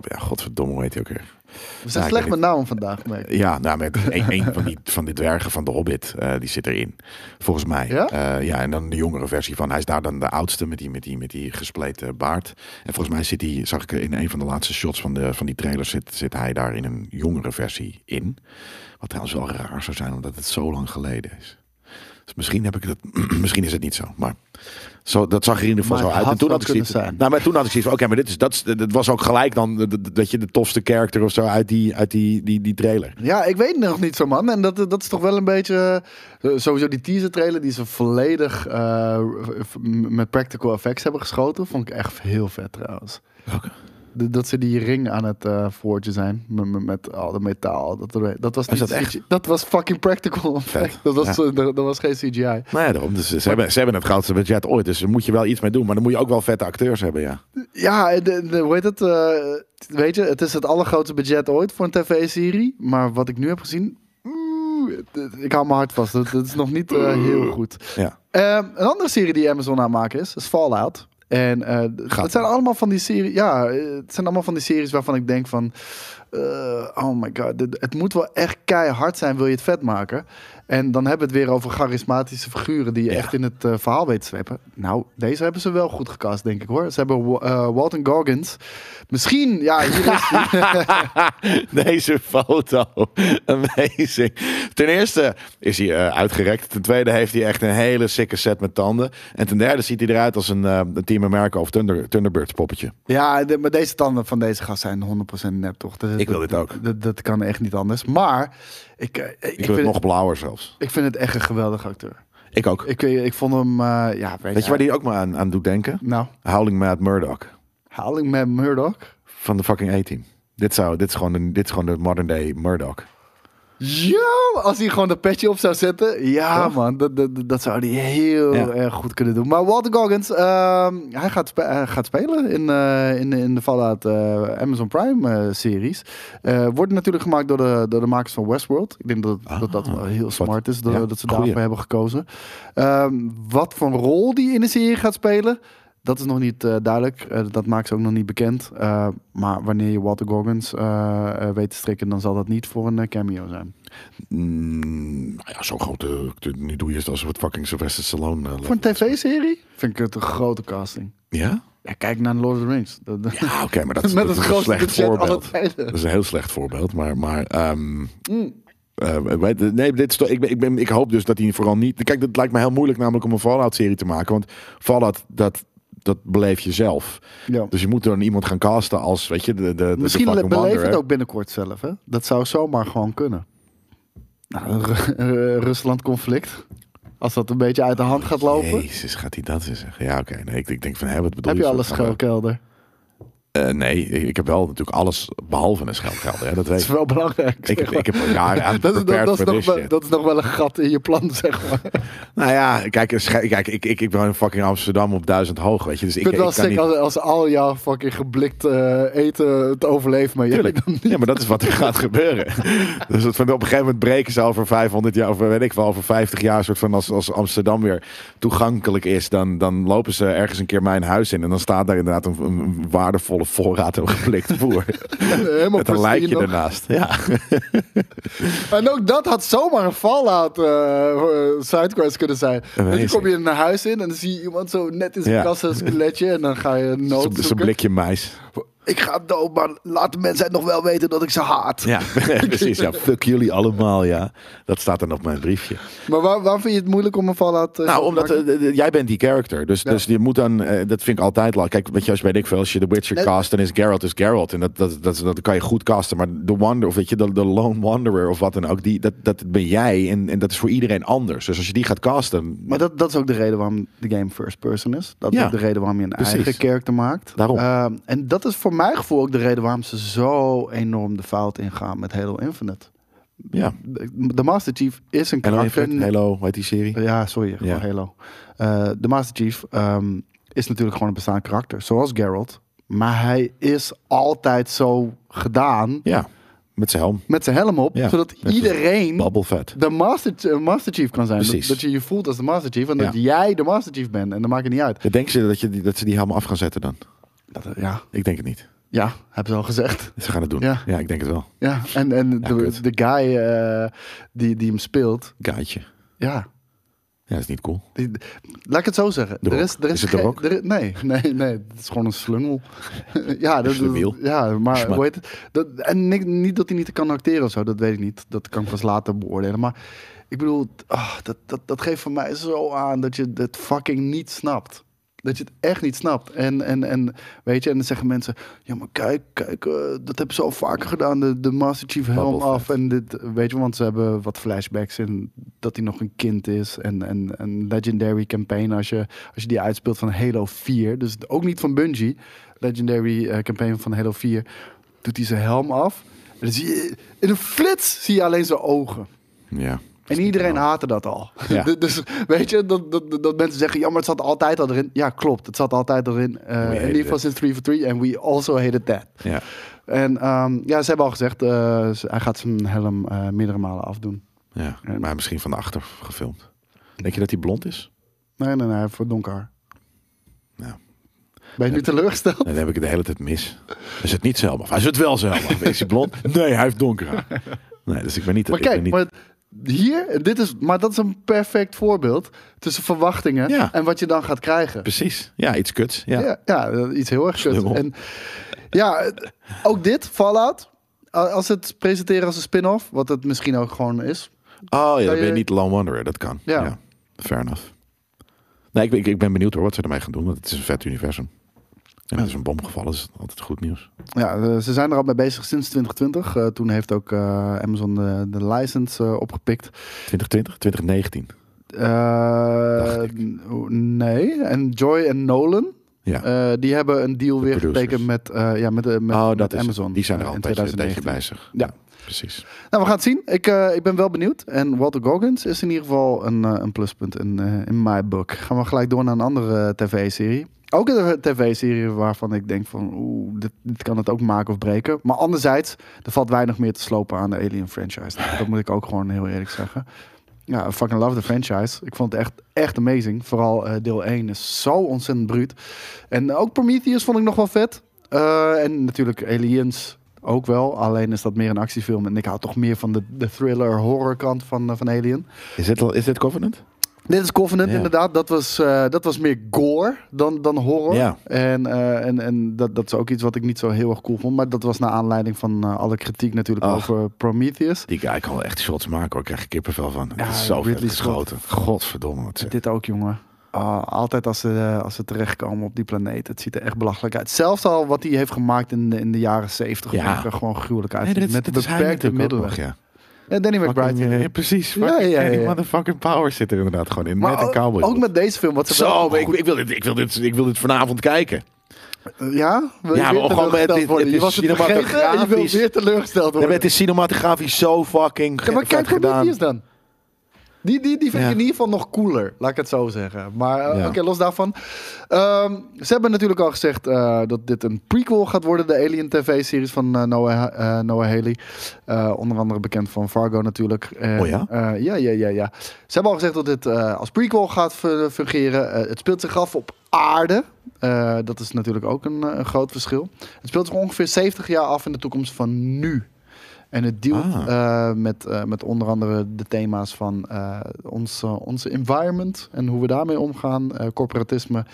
B: ja, godverdomme, hoe heet hij ook weer?
C: We zijn
B: ik
C: slecht
B: weet
C: met namen vandaag, merk ik.
B: Ja, nou, met een, een van, die, van die dwergen van de Hobbit, eh, die zit erin. Volgens mij.
C: Ja?
B: Eh, ja, en dan de jongere versie van. Hij is daar dan de oudste met die, met die, met die gespleten baard. En volgens mij zit hij, zag ik in een van de laatste shots van, de, van die trailer, zit, zit hij daar in een jongere versie in. Wat trouwens wel raar zou zijn, omdat het zo lang geleden is. Dus misschien, heb ik dat, misschien is het niet zo, maar zo, dat zag er in ieder geval
C: Maar
B: zo
C: het
B: uit. En
C: had
B: toen
C: wel
B: had ik zoiets,
C: kunnen zijn.
B: nou, maar toen had ik zoiets van, oké, maar dit is, dat, is- dat was ook gelijk dan, dat- dat je de tofste character of zo uit die, uit die, die, die trailer.
C: Ja, ik weet het nog niet zo, man. En dat, dat is toch wel een beetje... eh, Sowieso die teaser trailer die ze volledig eh, v- met practical effects hebben geschoten... vond ik echt heel vet, trouwens.
B: Welke?
C: D- Dat ze die ring aan het eh forgen zijn. Met, met, met al dat metaal. Dat, er- dat was
B: Is
C: niet
B: dat echt?
C: CGI. Dat was fucking practical. effect.
B: Vet,
C: Dat was,
B: ja.
C: eh, dat, dat was geen CGI.
B: Nou ja, daarom. Dus ze, hebben, ze hebben het grootste budget ooit. Dus daar moet je wel iets mee doen. Maar dan moet je ook wel vette acteurs hebben, ja.
C: Ja, en de, de- hoe heet het? eh, weet je, het is het allergrootste budget ooit voor een tv-serie. Maar wat ik nu heb gezien... oeh, het- het- ik hou mijn hart vast. Dat, dat is nog niet eh, heel goed.
B: Ja,
C: Ehm, een andere serie die Amazon aan het maken is, is Fallout. En eh,
B: maar.
C: het zijn allemaal van die series. Ja, eh, het zijn allemaal van die series waarvan ik denk van. eh, oh my god, dit- het moet wel echt keihard zijn, wil je het vet maken. En dan hebben we het weer over charismatische figuren die je
B: Ja.
C: echt in het eh, verhaal weet te slepen. Nou, deze hebben ze wel goed gecast, denk ik hoor. Ze hebben Wa- eh, Walton Goggins. Misschien, ja, hier is die.
B: deze foto. Amazing. Ten eerste is hij eh, uitgerekt. Ten tweede heeft hij echt een hele sikke set met tanden. En ten derde ziet hij eruit als een eh, een Team America of Thunder, Thunderbirds poppetje.
C: Ja, de- maar deze tanden van deze gast zijn 100% nep, toch? Dat-
B: Ik wil dit ook.
C: Dat, dat, dat kan echt niet anders. Maar ik, eh, ik,
B: Ik, wil
C: vind
B: het
C: het-
B: nog blauwer zelfs.
C: Ik vind het echt een geweldige acteur.
B: Ik ook.
C: Ik, ik vond hem, eh, ja, weet,
B: Weet je waar die ook maar aan, aan doet denken?
C: Nou,
B: Howling Mad Murdoch.
C: Howling Man Murdoch.
B: Van de fucking A-team. Dit, zou, dit, is gewoon een, dit is gewoon de modern day Murdoch.
C: Ja, als hij gewoon dat petje op zou zetten. Ja,
B: Toch?
C: man, dat, dat, dat zou hij heel
B: Ja.
C: erg goed kunnen doen. Maar Walter Goggins, ehm, hij, gaat spe- hij gaat spelen in, eh, in, in de Fallout eh, Amazon Prime eh, series. Eh, wordt natuurlijk gemaakt door de, door de makers van Westworld. Ik denk dat dat,
B: Ah.
C: dat wel heel smart is, dat,
B: Ja,
C: dat ze
B: goeie.
C: daarvoor hebben gekozen. Ehm, wat voor rol die in de serie gaat spelen, dat is nog niet eh, duidelijk. Eh, dat maakt ze ook nog niet bekend. Eh, maar wanneer je Walter Goggins eh, eh, weet te strikken, dan zal dat niet voor een eh, cameo zijn.
B: Mm, nou ja, zo'n grote. Nu doe je het als het fucking Sylvester Stallone. eh,
C: Voor
B: level.
C: een tv-serie vind ik het een grote casting.
B: Ja?
C: Ja, kijk naar Lord of the Rings. Dat- dat-
B: Ja, oké, maar dat, is-
C: Met
B: dat is
C: het
B: een
C: grootste
B: slecht
C: budget Mm. alle
B: voorbeeld.
C: tijden.
B: Dat is een heel slecht voorbeeld, maar. maar ehm, eh, weet- nee, dit is toch, ik, ben, ik, ben, ik hoop dus dat hij vooral niet. Kijk, dat lijkt me heel moeilijk namelijk om een Fallout-serie te maken. Want Fallout, dat, dat beleef je zelf.
C: Ja.
B: Dus je moet dan iemand gaan casten als, weet je, de. de- de
C: Misschien
B: de
C: le-
B: fucking
C: beleven het
B: Wanderer.
C: ook binnenkort zelf. Hè? Dat zou zomaar gewoon kunnen. Nou, Ru- Ru- Rusland-conflict. Als dat een beetje uit de hand gaat lopen.
B: Jezus, gaat hij dat eens zeggen? Ja, oké. Nee, ik, ik denk van, eh, hè, wat bedoel
C: heb je
B: zo?
C: alles
B: Gaan we-
C: schuilkelder?
B: Eh, nee, ik, ik heb wel natuurlijk alles behalve een schelpgeld. Hè, dat
C: Dat
B: weet
C: is
B: ik.
C: wel belangrijk.
B: Ik heb,
C: zeg maar.
B: ik heb al jaren aan
C: dat, is, dat,
B: prepared
C: dat, is
B: for
C: nog
B: this
C: wel,
B: shit.
C: dat is nog wel een gat in je plan, zeg maar. Ik
B: Nou ja, kijk, een sche- kijk ik, ik, ik ben in fucking Amsterdam op duizend hoog, weet je. Dus ik,
C: vind het wel
B: ik kan
C: sick
B: niet...
C: als, als al jouw fucking geblikt eh, eten het overleeft, maar jij
B: Tuurlijk.
C: dan niet.
B: Ja, maar dat is wat er gaat gebeuren. Dus dat van op een gegeven moment breken ze over 500 jaar, of weet ik wel, over 50 jaar, soort van als, als Amsterdam weer toegankelijk is, dan, dan lopen ze ergens een keer mijn huis in en dan staat daar inderdaad een, een waardevolle voorraad aan geblikte voer.
C: Helemaal
B: Met een lijkje
C: pristine.
B: ernaast. Ja.
C: En ook dat had zomaar een fallout eh, eh, sidequest kunnen zijn. Dus dan
B: Amazing.
C: kom je naar huis in en dan zie je iemand zo net in zijn
B: Ja.
C: kassa een skeletje en dan ga je nood
B: Zo'n
C: zoeken.
B: zo'n blikje mais.
C: Ik ga dood, maar laat de mensheid nog wel weten dat ik ze haat.
B: Ja, precies. Ja, fuck jullie allemaal, ja. Dat staat dan op mijn briefje.
C: Maar waar, waarom vind je het moeilijk om een fallout eh,
B: Nou,
C: te
B: omdat
C: maken?
B: eh, eh, jij bent die character. Dus,
C: Ja.
B: dus je moet dan, eh, dat vind ik altijd lang. Kijk, weet je, als weet ik veel, als je The Witcher
C: Nee.
B: cast, dan is Geralt is Geralt. En dat, dat, dat, dat kan je goed casten. Maar de Wander, of weet je, de, de Lone Wanderer of wat dan ook, die, dat, dat ben jij. En, en dat is voor iedereen anders. Dus als je die gaat casten.
C: Maar dat, dat is ook de reden waarom de game first person is. Dat is
B: Ja,
C: ook de reden waarom je een
B: precies.
C: eigen character maakt.
B: Daarom.
C: Ehm, en dat is voor mijn gevoel ook de reden waarom ze zo enorm de fout ingaan met Halo Infinite.
B: ja.
C: De- De Master Chief is een
B: Hello,
C: karakter.
B: Infinite, Hello, hoe heet die serie?
C: Ja, sorry, gewoon
B: Ja.
C: Halo. Eh, de Master Chief ehm, is natuurlijk gewoon een bestaand karakter, zoals Geralt. Maar hij is altijd zo gedaan,
B: Ja, met zijn helm.
C: met zijn helm op,
B: Ja,
C: zodat
B: met zijn
C: iedereen
B: Bubble vet.
C: de Master, eh, Master Chief kan zijn. Dat,
B: Precies.
C: dat je je voelt als de Master Chief en dat
B: Ja.
C: jij de Master Chief bent. En dat maakt het niet uit.
B: Dan denken ze dat, je, die- dat ze die helm af gaan zetten dan?
C: Dat, eh, ja,
B: Ik denk het niet.
C: ja, hebben ze al gezegd.
B: Ze gaan het doen.
C: Ja.
B: Ja, ik denk het wel.
C: Ja, en, en de,
B: kut.
C: de guy eh, die, die hem speelt,
B: Gaatje.
C: ja,
B: Ja, dat is niet cool.
C: Die- Laat ik het zo zeggen.
B: De
C: er
B: Rock.
C: is, er is,
B: Is het De
C: geen-
B: Rock?
C: er is- nee, nee, nee. Het is gewoon een slungel. ja, dat,
B: Slemiel.
C: ja, maar
B: Smaak.
C: hoe heet het? Dat, en niet, niet dat hij niet kan acteren of zo, dat weet ik niet. Dat kan ik pas later beoordelen. Maar ik bedoel, ah, dat, dat, dat geeft voor mij zo aan dat je het fucking niet snapt. Dat je het echt niet snapt. En, en, en, weet je, en dan zeggen mensen: Ja, maar kijk, kijk eh, dat hebben ze al vaker gedaan. De, de Master Chief helm
B: Babbelvet.
C: af. En dit, weet je, want ze hebben wat flashbacks in dat hij nog een kind is. En, en een Legendary campaign, als je, als je die uitspeelt van Halo 4. Dus ook niet van Bungie. Legendary eh, campaign van Halo 4. Doet hij zijn helm af. En dan zie je, in een flits zie je alleen zijn ogen.
B: Ja.
C: En iedereen haatte dat al.
B: Ja.
C: dus weet je, dat, dat, dat mensen zeggen, ja, maar het zat altijd al erin. Ja, klopt, het zat altijd al erin. Eh, in
B: hated
C: ieder geval
B: it.
C: sinds 3 for 3. En we also hated that.
B: Ja.
C: En ehm, ja, ze hebben al gezegd, eh, ze- hij gaat zijn helm eh, meerdere malen afdoen.
B: Ja,
C: En-
B: maar misschien van de achter gefilmd. Denk je dat hij blond is?
C: Nee, nee, nee, voor donker haar.
B: Ja.
C: Ben je nu teleurgesteld?
B: Nee, dan heb ik het de hele tijd mis. Is het niet Selma? Hij is het wel Selma. Is hij blond? Nee, hij heeft donker haar. Nee, dus ik ben niet...
C: Maar
B: ik ben
C: kijk,
B: niet,
C: maar hier, dit is, maar dat is een perfect voorbeeld tussen verwachtingen
B: Ja.
C: en wat je dan gaat krijgen.
B: Precies. Ja, iets kuts. Ja.
C: Ja, ja, dat is iets heel erg kut.
B: Slim op.
C: En ja, ook dit, Fallout. a- Als ze het presenteren als een spin-off, wat het misschien ook gewoon is.
B: Oh ja,
C: Zou
B: dan ben
C: je-
B: je niet Lone Wanderer. Dat kan.
C: Ja.
B: Ja. Fair enough. Nee, ik, ben- ik, ik ben benieuwd hoor wat ze ermee gaan doen. Want het is een vet universum. En het is een bom gevallen. dus altijd goed nieuws.
C: Ja, eh, ze zijn er al mee bezig sinds 2020. Eh, toen heeft ook eh, Amazon de, de license eh, opgepikt.
B: 2020? 2019.
C: Eh,
B: Dacht ik.
C: nee, en Joy en Nolan,
B: Ja.
C: eh, die hebben een deal weer
B: producers.
C: getekend met, eh, ja, met, eh, met,
B: oh,
C: met
B: dat is het.
C: Amazon.
B: Die zijn er
C: eh,
B: al
C: in
B: een tijdje- een tijdje
C: 2019.
B: bezig.
C: Ja.
B: Precies.
C: Nou, we gaan het zien. Ik, eh, ik ben wel benieuwd. En Walter Goggins is in ieder geval een, eh, een pluspunt in, eh, in my book. Gaan we gelijk door naar een andere eh, tv-serie. Ook een tv-serie waarvan ik denk van... Oeh, dit, dit kan het ook maken of breken. Maar anderzijds, er valt weinig meer te slopen aan de Alien franchise. Dat moet ik ook gewoon heel eerlijk zeggen. Ja, I fucking love the franchise. Ik vond het echt, echt amazing. Vooral eh, deel 1 is zo ontzettend bruut. En ook Prometheus vond ik nog wel vet. Eh, en natuurlijk Aliens ook wel. Alleen is dat meer een actiefilm. En ik hou toch meer van de, de thriller, horror kant van, eh, van Alien.
B: Is dit, al- is dit Covenant?
C: Dit is Covenant
B: Ja.
C: inderdaad. Dat was, eh, dat was meer gore dan, dan horror.
B: Ja.
C: En, eh, en, en dat, dat is ook iets wat ik niet zo heel erg cool vond. Maar dat was naar aanleiding van eh, alle kritiek natuurlijk
B: Ach.
C: over Prometheus.
B: Die guy kan wel echt shots maken hoor. Ik krijg ik kippenvel van.
C: Ja,
B: het is zo vet
C: Ridley Scott.
B: geschoten. Godverdomme. Wat zeg.
C: Dit ook, jongen. Ah, altijd als ze, eh, als ze terechtkomen op die planeet. Het ziet er echt belachelijk uit. Zelfs al wat hij heeft gemaakt in de, in de jaren zeventig.
B: Ja.
C: Ja. gewoon gruwelijk uit.
B: Nee, dit,
C: Met
B: dit is hij
C: beperkte
B: natuurlijk ook
C: middelen.
B: nog, ja.
C: Ja, Danny McBride.
B: Fucking, eh, precies.
C: Ja,
B: Fucking,
C: ja, ja,
B: eh,
C: ja.
B: Motherfucking power zit er inderdaad gewoon in.
C: maar
B: met een
C: ook- Oh.
B: cowboy.
C: ook met deze film. Wat ze wel
B: Zo, maar ik,
C: goed-
B: ik, wil dit, ik, wil dit, ik wil dit vanavond kijken.
C: Eh, Ja? Wil je
B: Ja,
C: weer
B: maar gewoon met
C: teleurgesteld
B: dit-
C: worden?
B: dit
C: Je was het
B: cinematografisch-
C: vergeten en je wilt weer teleurgesteld
B: Ja, maar
C: worden.
B: het is cinematografisch zo fucking
C: Ja, maar
B: vet
C: kijk hoe
B: gedaan.
C: die is dan. Die, die, die vind
B: Ja.
C: ik in ieder geval nog cooler, laat ik het zo zeggen. Maar eh,
B: Ja.
C: oké, los daarvan. Ehm, ze hebben natuurlijk al gezegd eh, dat dit een prequel gaat worden. De Alien TV-series van eh, Noah, eh, Noah Haley. Eh, onder andere bekend van Fargo natuurlijk. En,
B: Oh ja?
C: eh, ja, ja, ja, ja. Ze hebben al gezegd dat dit eh, als prequel gaat fu- fungeren. Eh, het speelt zich af op aarde. Eh, dat is natuurlijk ook een, eh, een groot verschil. Het speelt zich ongeveer 70 jaar af in de toekomst van nu. En het dealt
B: Ah.
C: eh, met, eh, met onder andere de thema's van eh, ons, eh, onze environment en hoe we daarmee omgaan, eh, corporatisme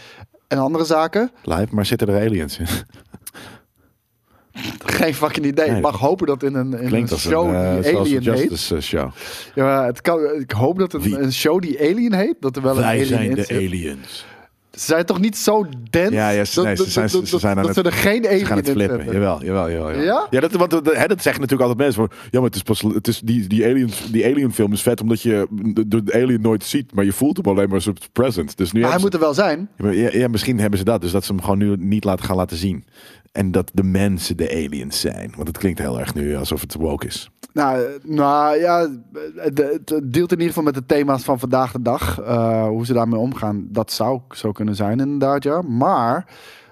C: en andere zaken.
B: Live, maar zitten er aliens in?
C: Geen fucking idee.
B: Nee.
C: Ik mag hopen dat in een, in een
B: Klinkt als
C: show
B: een eh,
C: die
B: Social
C: Alien heet.
B: Justice eh, show.
C: Ja, maar het kan, ik hoop dat
B: Wie?
C: een, een show die Alien heet, dat er wel een Alien in zit.
B: aliens.
C: Ze zijn toch niet zo dense
B: Ja, ja, ze-
C: dat,
B: nee, ze
C: dat-
B: zijn-
C: dat-
B: ze zijn aan
C: dat
B: het-
C: ze er geen
B: Ze gaan
C: Alien
B: het
C: in
B: flippen.
C: zetten.
B: Jawel, jawel, jawel. jawel.
C: Ja?
B: dat, want dat, hè, dat zeggen natuurlijk altijd mensen. Van, ja, maar het is pas, het is, die, die, aliens, die alien film is vet omdat je de, de alien nooit ziet. Maar je voelt hem alleen maar als het present. Dus nu
C: Maar hij
B: hebben
C: moet
B: ze-
C: er wel zijn.
B: ja, ja, misschien hebben ze dat. Dus dat ze hem gewoon nu niet laten gaan laten zien. En dat de mensen de aliens zijn. Want het klinkt heel erg nu alsof het woke is.
C: Nou, eh, nou ja, het, het deelt in ieder geval met de thema's van vandaag de dag. eh, hoe ze daarmee omgaan, dat zou zo kunnen zijn inderdaad, ja. Maar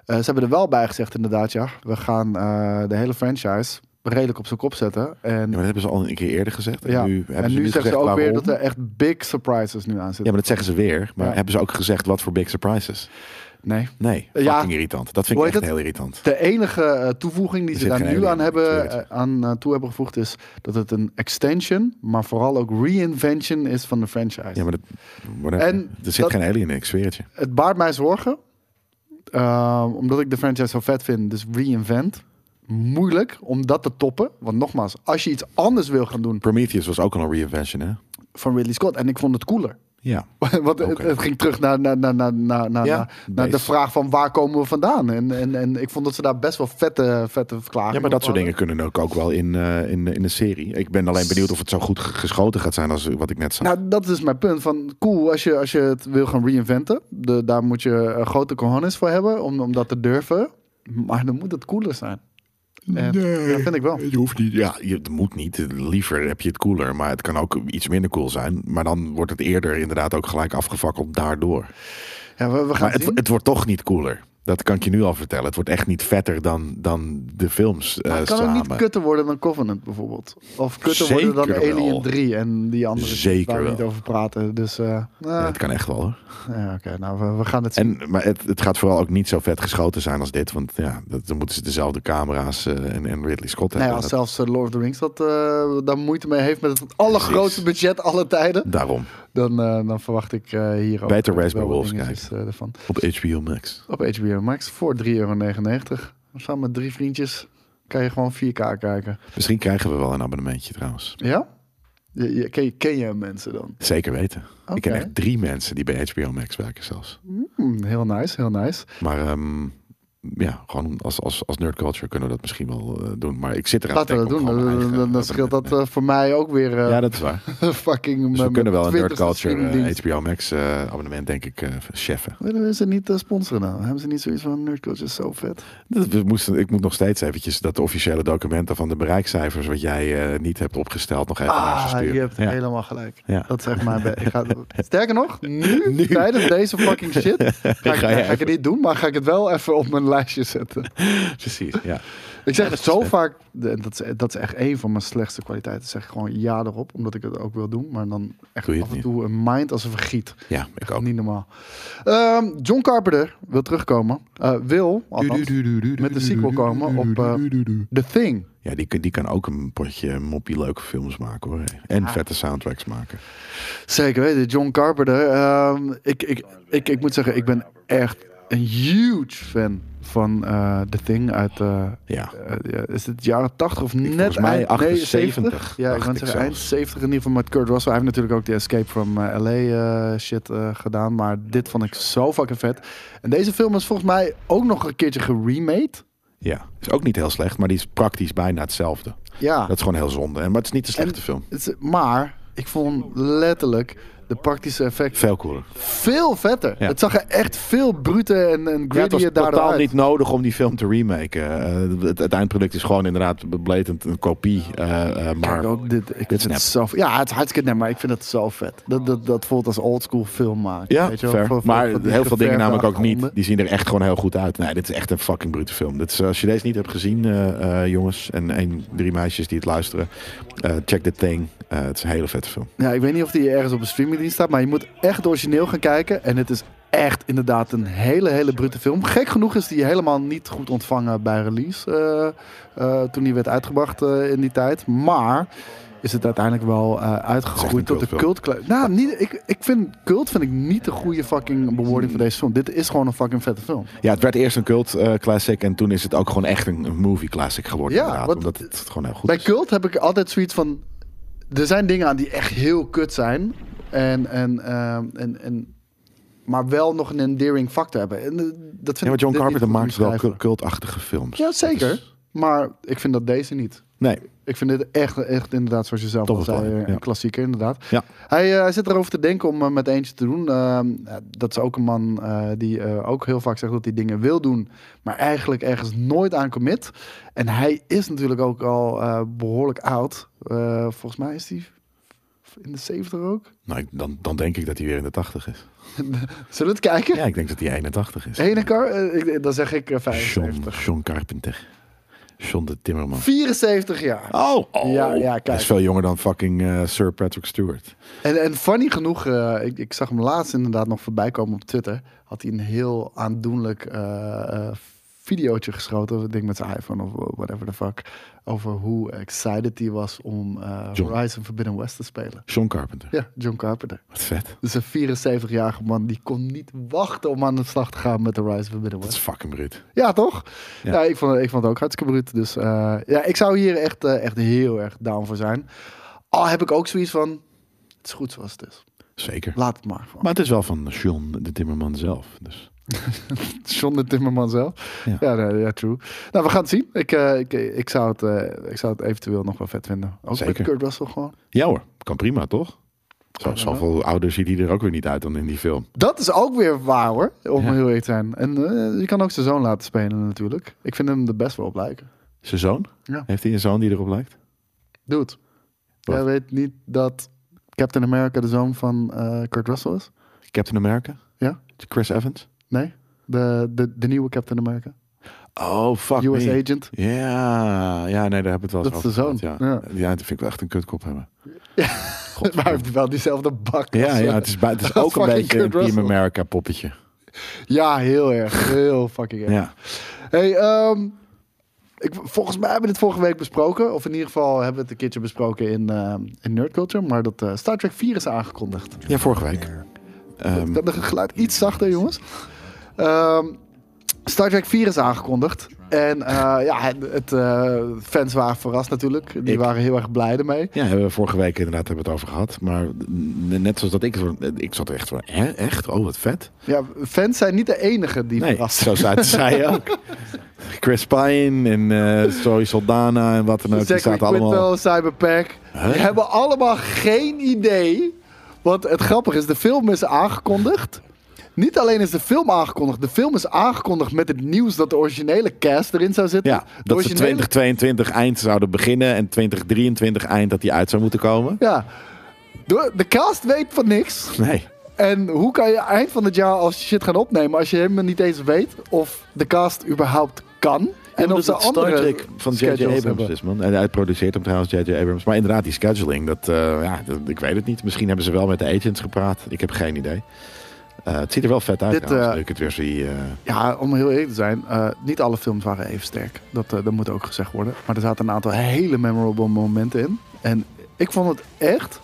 C: eh, ze hebben er wel bij gezegd inderdaad, ja. We gaan eh, de hele franchise redelijk op zijn kop zetten. En
B: Ja, maar dat hebben ze al een keer eerder gezegd. En
C: ja,
B: nu hebben
C: en
B: ze
C: nu
B: nu
C: zeggen
B: gezegd
C: ze ook weer
B: waarom.
C: dat er echt big surprises nu aan
B: Ja,
C: zitten.
B: maar dat zeggen ze weer. Maar
C: Ja.
B: hebben ze ook gezegd wat voor big surprises?
C: Nee.
B: Nee,
C: Ja.
B: fucking irritant. Dat vind ik
C: Hoe
B: echt
C: heet
B: heel irritant.
C: De enige eh, toevoeging die
B: Er
C: ze
B: zit
C: daar
B: geen
C: nu
B: alien
C: aan,
B: in,
C: hebben,
B: zoiets.
C: eh, aan eh, toe hebben gevoegd is dat het een extension, maar vooral ook reinvention is van de franchise.
B: Ja, maar dat, whatever.
C: En
B: er zit
C: dat-
B: geen alien in, ik zweer het je.
C: Het baart mij zorgen. eh, omdat ik de franchise zo vet vind. Dus reinvent. Moeilijk om dat te toppen. Want nogmaals, als je iets anders wil gaan doen
B: Prometheus was ook al een reinvention, hè?
C: van Ridley Scott. En ik vond het cooler.
B: Ja.
C: Want het,
B: Oké.
C: het ging terug naar, naar, naar, naar, naar, naar,
B: Ja,
C: naar- naar de
B: base.
C: vraag van waar komen we vandaan. En, en, en ik vond dat ze daar best wel vette, vette verklaringen
B: ja, maar dat soort
C: op hadden.
B: dingen kunnen ook, ook wel in, eh, in, in een serie. Ik ben alleen benieuwd of het zo goed ge- geschoten gaat zijn als wat ik net zei.
C: Nou, dat is mijn punt. Van cool, als je, als je het wil gaan reinventen, de, daar moet je eh, grote cojones voor hebben om, om dat te durven. Maar dan moet het cooler zijn. En, Dat vind ik wel.
B: Het hoeft niet. Ja, je, het moet niet. Liever heb je het cooler. Maar het kan ook iets minder cool zijn. Maar dan wordt het eerder inderdaad ook gelijk afgefakkeld daardoor.
C: Ja, we, we gaan
B: Maar
C: het
B: het,
C: zien.
B: het wordt toch niet cooler. Dat kan ik je nu al vertellen. Het wordt echt niet vetter dan, dan de films eh,
C: Het kan
B: samen.
C: ook niet kutter worden dan Covenant bijvoorbeeld. Of kutter
B: Zeker
C: worden dan Alien
B: wel.
C: 3 en die andere die
B: Zeker
C: waar we
B: wel.
C: niet over praten. Dus eh,
B: Ja,
C: nou,
B: het kan echt wel hoor.
C: ja, oké, nou we, we gaan het zien.
B: En, maar het, het gaat vooral ook niet zo vet geschoten zijn als dit. Want ja, dat, dan moeten ze dezelfde camera's eh, en, en Ridley Scott
C: nou
B: hebben.
C: ja, als
B: Dat-
C: zelfs eh, Lord of the Rings dat, eh, daar moeite mee heeft met het allergrootste budget alle tijden,
B: Daarom.
C: dan, eh, dan verwacht ik eh hier ook.
B: Beter
C: wel
B: Race by
C: wat
B: Wolves
C: dingetjes, eh, ervan.
B: Op HBO Max.
C: Op HBO Max voor 3,99 euro. Samen met drie vriendjes kan je gewoon 4K kijken.
B: Misschien krijgen we wel een abonnementje trouwens.
C: Ja? Je, je- ken, je, ken je mensen dan?
B: Zeker weten.
C: Oké.
B: Ik ken echt drie mensen die bij HBO Max werken zelfs.
C: Hmm, heel nice, heel nice.
B: Maar ehm, ja, gewoon als, als, als nerd culture kunnen we dat misschien wel eh, doen. Maar ik zit eraan te
C: Laten we dat
B: denken
C: doen.
B: om gewoon mijn
C: Dan, dan-
B: eigen
C: dan scheelt dat
B: abonnement-
C: eh, voor mij ook weer eh,
B: Ja, dat is waar.
C: fucking. eh,
B: Dus we
C: mijn-
B: kunnen wel een
C: mijn
B: nerd
C: 20ste
B: culture eh,
C: streamingdienst.
B: HBO Max eh, abonnement denk ik eh cheffen.
C: Willen ze niet eh, sponsoren dan? Hebben ze niet zoiets van nerd culture is zo vet?
B: Dat- we moesten, ik moet nog steeds eventjes dat officiële documenten van de bereikcijfers wat jij eh, niet hebt opgesteld nog even naar ze
C: Ah,
B: sturen.
C: je hebt
B: Ja.
C: helemaal gelijk.
B: Ja.
C: Dat zeg maar. Ik ga, sterker nog, nu, tijdens deze fucking shit ga ik, nou,
B: Ga
C: ga,
B: je
C: ik het niet doen, maar ga ik het wel even op mijn lijstje zetten.
B: Precies, ja.
C: Ik zeg het zo vaak, en dat is, dat is echt één van mijn slechtste kwaliteiten. Zeg ik gewoon ja erop, omdat ik het ook wil doen. Maar dan echt
B: Doe je het
C: af en
B: niet.
C: toe een mind als een vergiet.
B: Ja, ik ook.
C: Niet normaal. Ehm, John Carpenter wil terugkomen. Eh, wil, althans, met de sequel komen op eh, The Thing.
B: Ja, die, kan- die kan ook een potje moppie leuke films maken hoor. En vette soundtracks maken.
C: Zeker weten, John Carpenter. Ehm, ik, ik, ik, ik moet zeggen, ik ben echt een huge fan van eh, The Thing uit... eh,
B: Ja.
C: eh, ja, is het jaren 80 of net
B: volgens mij
C: eind- nee,
B: 78,
C: Ja, ik
B: dacht
C: wou
B: ik
C: zeggen
B: zelfs.
C: eind 70 in ieder geval met Kurt Russell. Hij heeft natuurlijk ook de Escape from eh, LA eh, shit eh, gedaan. Maar dit vond ik zo fucking vet. En deze film is volgens mij ook nog een keertje geremade.
B: ja, is ook niet heel slecht, maar die is praktisch bijna hetzelfde.
C: Ja.
B: Dat is gewoon heel zonde. hè, Maar het is niet een slechte film.
C: Het is- maar ik vond letterlijk de praktische effecten.
B: Veel cooler.
C: Veel vetter.
B: Ja.
C: Het zag er echt veel bruter en, en
B: Ja, het was
C: grittier daardoor
B: totaal
C: uit.
B: niet nodig om die film te remaken. Eh, het, het eindproduct is gewoon inderdaad blatend een kopie. eh, eh, maar
C: Kijk, ook dit, ik
B: dit
C: vind
B: snap.
C: het zo, ja, het is hartstikke net, maar ik vind het zo vet. Dat, dat, dat voelt als oldschool film maken.
B: ja,
C: weet je wel,
B: fair.
C: voor- voor-
B: maar
C: voor die
B: heel veel dingen
C: geverfde
B: namelijk ook niet.
C: achtergronden.
B: Die zien er echt gewoon heel goed uit. Nee, dit is echt een fucking brute film. Dit is, als je deze niet hebt gezien, eh, eh, jongens, en één, drie meisjes die het luisteren, eh, check dit thing. Eh, het is een hele vette film.
C: Ja, ik weet niet of die ergens op een streamingdienst staat, maar je moet echt origineel gaan kijken. En het is echt inderdaad een hele, hele brute film. Gek genoeg is die helemaal niet goed ontvangen bij release. eh, eh, toen die werd uitgebracht eh, in die tijd. Maar is het uiteindelijk wel eh,
B: Het is
C: uitgegroeid
B: echt een
C: tot de
B: cultfilm.
C: cult. Nou, niet, ik, ik vind cult vind ik niet de goede fucking bewoording voor deze film. Dit is gewoon een fucking vette film.
B: Ja, het werd eerst een cult eh, classic en toen is het ook gewoon echt een een movie classic geworden.
C: Ja,
B: inderdaad,
C: wat-
B: omdat het gewoon heel goed
C: Bij
B: is.
C: cult heb ik altijd zoiets van... Er zijn dingen aan die echt heel kut zijn. En, en, ehm, en, en, maar wel nog een endearing factor hebben. En, eh, dat vind
B: Ja, maar
C: ik
B: John
C: dit
B: Carpenter
C: niet goed
B: maakt wel
C: omschrijven.
B: cultachtige films.
C: Ja, zeker.
B: Dat is-
C: Maar ik vind dat deze niet.
B: nee,
C: Ik vind dit echt, echt inderdaad, zoals je zelf
B: Toch
C: al
B: wel,
C: zei, eh,
B: ja.
C: een klassieker inderdaad.
B: Ja.
C: Hij, eh, hij zit erover te denken om eh, met eentje te doen. Ehm, ja, dat is ook een man eh, die eh, ook heel vaak zegt dat hij dingen wil doen, maar eigenlijk ergens nooit aan commit. En hij is natuurlijk ook al eh, behoorlijk oud. Eh, volgens mij is hij in de 70 ook.
B: nou, ik- dan, dan denk ik dat hij weer in de 80 is.
C: Zullen we het kijken?
B: Ja, ik denk dat hij 81 is.
C: Henekar, eh, ik- dan zeg ik eh,
B: John,
C: 75.
B: John Carpenter. John de Timmerman.
C: 74 jaar.
B: Oh, oh.
C: Ja, ja,
B: Hij
C: kijk.
B: is veel jonger dan fucking eh, Sir Patrick Stewart.
C: En, en funny genoeg, eh, ik, ik zag hem laatst inderdaad nog voorbij komen op Twitter. Had hij een heel aandoenlijk eh, eh, videootje geschoten, ik denk met zijn iPhone of whatever the fuck. Over hoe excited hij was om eh,
B: John.
C: Horizon Forbidden West te spelen.
B: John Carpenter.
C: Ja, John Carpenter.
B: Wat vet.
C: Dus een 74-jarige man die kon niet wachten om aan de slag te gaan met Horizon Forbidden
B: Dat
C: West.
B: is fucking bruut.
C: Ja, toch?
B: Ja.
C: Ja, ik, vond, ik vond het ook hartstikke bruut. Dus eh, ja, ik zou hier echt, eh, echt heel erg down voor zijn. Al heb ik ook zoiets van, het is goed zoals het is.
B: Zeker.
C: Laat het maar gewoon.
B: Maar het is wel van John de Timmerman zelf. Dus.
C: John de Timmerman zelf.
B: Ja.
C: Ja, nee, ja, true. Nou, we gaan het zien. Ik, eh, ik, ik, zou het, eh, ik zou het eventueel nog wel vet vinden. Ook
B: Zeker.
C: met Kurt Russell gewoon.
B: Ja hoor, kan prima toch? Zo, zoveel ouder ziet hij er ook weer niet uit dan in die film.
C: Dat is ook weer waar hoor, om
B: Ja.
C: heel eerlijk te zijn. En eh, je kan ook zijn zoon laten spelen natuurlijk. Ik vind hem er best wel op lijken.
B: Zijn zoon?
C: Ja.
B: Heeft hij een zoon die erop lijkt?
C: Dude,
B: Wat?
C: jij weet niet dat Captain America de zoon van eh, Kurt Russell is?
B: Captain America?
C: Ja?
B: Chris Evans?
C: Nee? De, de, de nieuwe Captain America.
B: Oh, fuck
C: US
B: me.
C: Agent.
B: Ja, ja, nee, daar heb ik het wel eens
C: Dat is
B: over
C: de
B: gehad,
C: zoon,
B: Ja. Ja. dat vind ik wel echt een kutkop hebben.
C: Maar hij heeft wel diezelfde bak.
B: Ja,
C: als,
B: ja,
C: eh,
B: het is, bij- het is ook
C: als
B: een
C: fucking
B: beetje
C: Kurt
B: een Team
C: Russell.
B: America poppetje.
C: ja, heel erg. Heel fucking erg.
B: Ja.
C: Hey, ehm, ik, volgens mij hebben we dit vorige week besproken. Of in ieder geval hebben we het een keertje besproken in, ehm in Nerd Culture. Maar dat eh, Star Trek 4 is aangekondigd.
B: ja, vorige week. Ehm,
C: Ik had het geluid iets zachter, jongens. Ehm, Star Trek 4 is aangekondigd. En eh, ja, het, het, eh, fans waren verrast natuurlijk. Die
B: Ik-
C: waren heel erg blij ermee.
B: ja, hebben we vorige week inderdaad hebben we het over gehad. Maar n- net zoals dat ik... zo- Ik zat echt van, hè, echt? Oh, wat vet.
C: Ja, fans zijn niet de enige die
B: Nee,
C: verrast
B: zo zaten zij ook. Chris Pine en eh Zoe Saldana en wat dan ook. Nou, Die
C: Zachary
B: zaten
C: Quinto,
B: allemaal...
C: Cyberpack. Die hebben allemaal geen idee. Want het grappige is, de film is aangekondigd. Niet alleen is de film aangekondigd. De film is aangekondigd met het nieuws dat de originele cast erin zou zitten.
B: Ja,
C: de
B: dat ze
C: originele
B: 2022 eind zouden beginnen en 2023 eind dat die uit zou moeten komen.
C: Ja. De, de cast weet van niks.
B: Nee.
C: En hoe kan je eind van het jaar als je shit gaan opnemen... als je helemaal niet eens weet of de cast überhaupt kan... En
B: Ja,
C: of
B: omdat
C: ze
B: dus het Star
C: andere
B: Trek van J.J.
C: schedules
B: Abrams
C: hebben.
B: is, man. En hij produceert hem trouwens, J.J. Abrams. Maar inderdaad, die scheduling, dat, eh, ja, dat- ik weet het niet. Misschien hebben ze wel met de agents gepraat. Ik heb geen idee. Eh, het ziet er wel vet uit,
C: Dit,
B: trouwens,
C: eh,
B: nu ik het weer zie. eh.
C: Ja, om heel eerlijk te zijn, eh, niet alle films waren even sterk. Dat, eh, dat moet ook gezegd worden. Maar er zaten een aantal hele memorable momenten in. En ik vond het echt.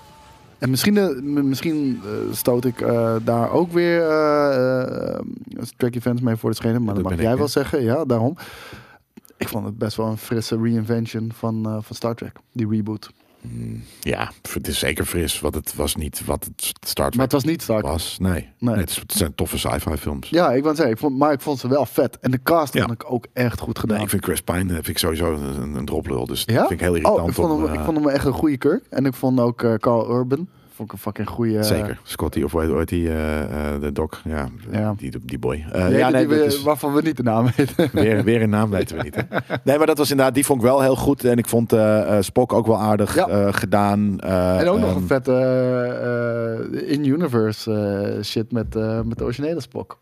C: En misschien, eh, m- misschien eh, stoot ik eh, daar ook weer eh eh, Tracky Fans mee voor de schenen. Maar
B: Dat
C: dat, mag
B: ben
C: jij
B: ik, hè?
C: wel zeggen. Ja, daarom. Ik vond het best wel een frisse reinvention van, eh, van Star Trek, die reboot.
B: ja, het is zeker fris, want het was niet wat het Star
C: Maar
B: Trek
C: het was niet Star Trek.
B: was. Nee, nee.
C: Nee.
B: het, is- het zijn toffe sci-fi films.
C: Ja, ik wou zeggen, ik vond, maar ik vond ze wel vet. En de cast
B: Ja.
C: vond ik ook echt goed gedaan.
B: Nee, ik vind Chris Pine eh, vind ik sowieso een, een droplul. Dus
C: nou. Ja?
B: dat vind ik heel irritant.
C: Oh, ik vond,
B: om,
C: hem,
B: eh,
C: ik vond hem echt een goede kurk. En ik vond ook eh, Carl Urban Vond ik een fucking goeie...
B: Zeker. Scotty of hoe heet die, eh, eh, de doc. Ja,
C: Ja.
B: Die, die boy. Eh,
C: Nee,
B: ja, nee,
C: die we-
B: dat is-
C: Waarvan we niet de naam weten.
B: weer, weer een naam weten we niet. Hè? Nee, maar dat was inderdaad, die vond ik wel heel goed. En ik vond eh, eh, Spock ook wel aardig
C: Ja.
B: eh, gedaan. Eh,
C: en ook nog
B: ehm,
C: een vette eh, eh, in-universe eh, shit met, eh, met de originele Spock.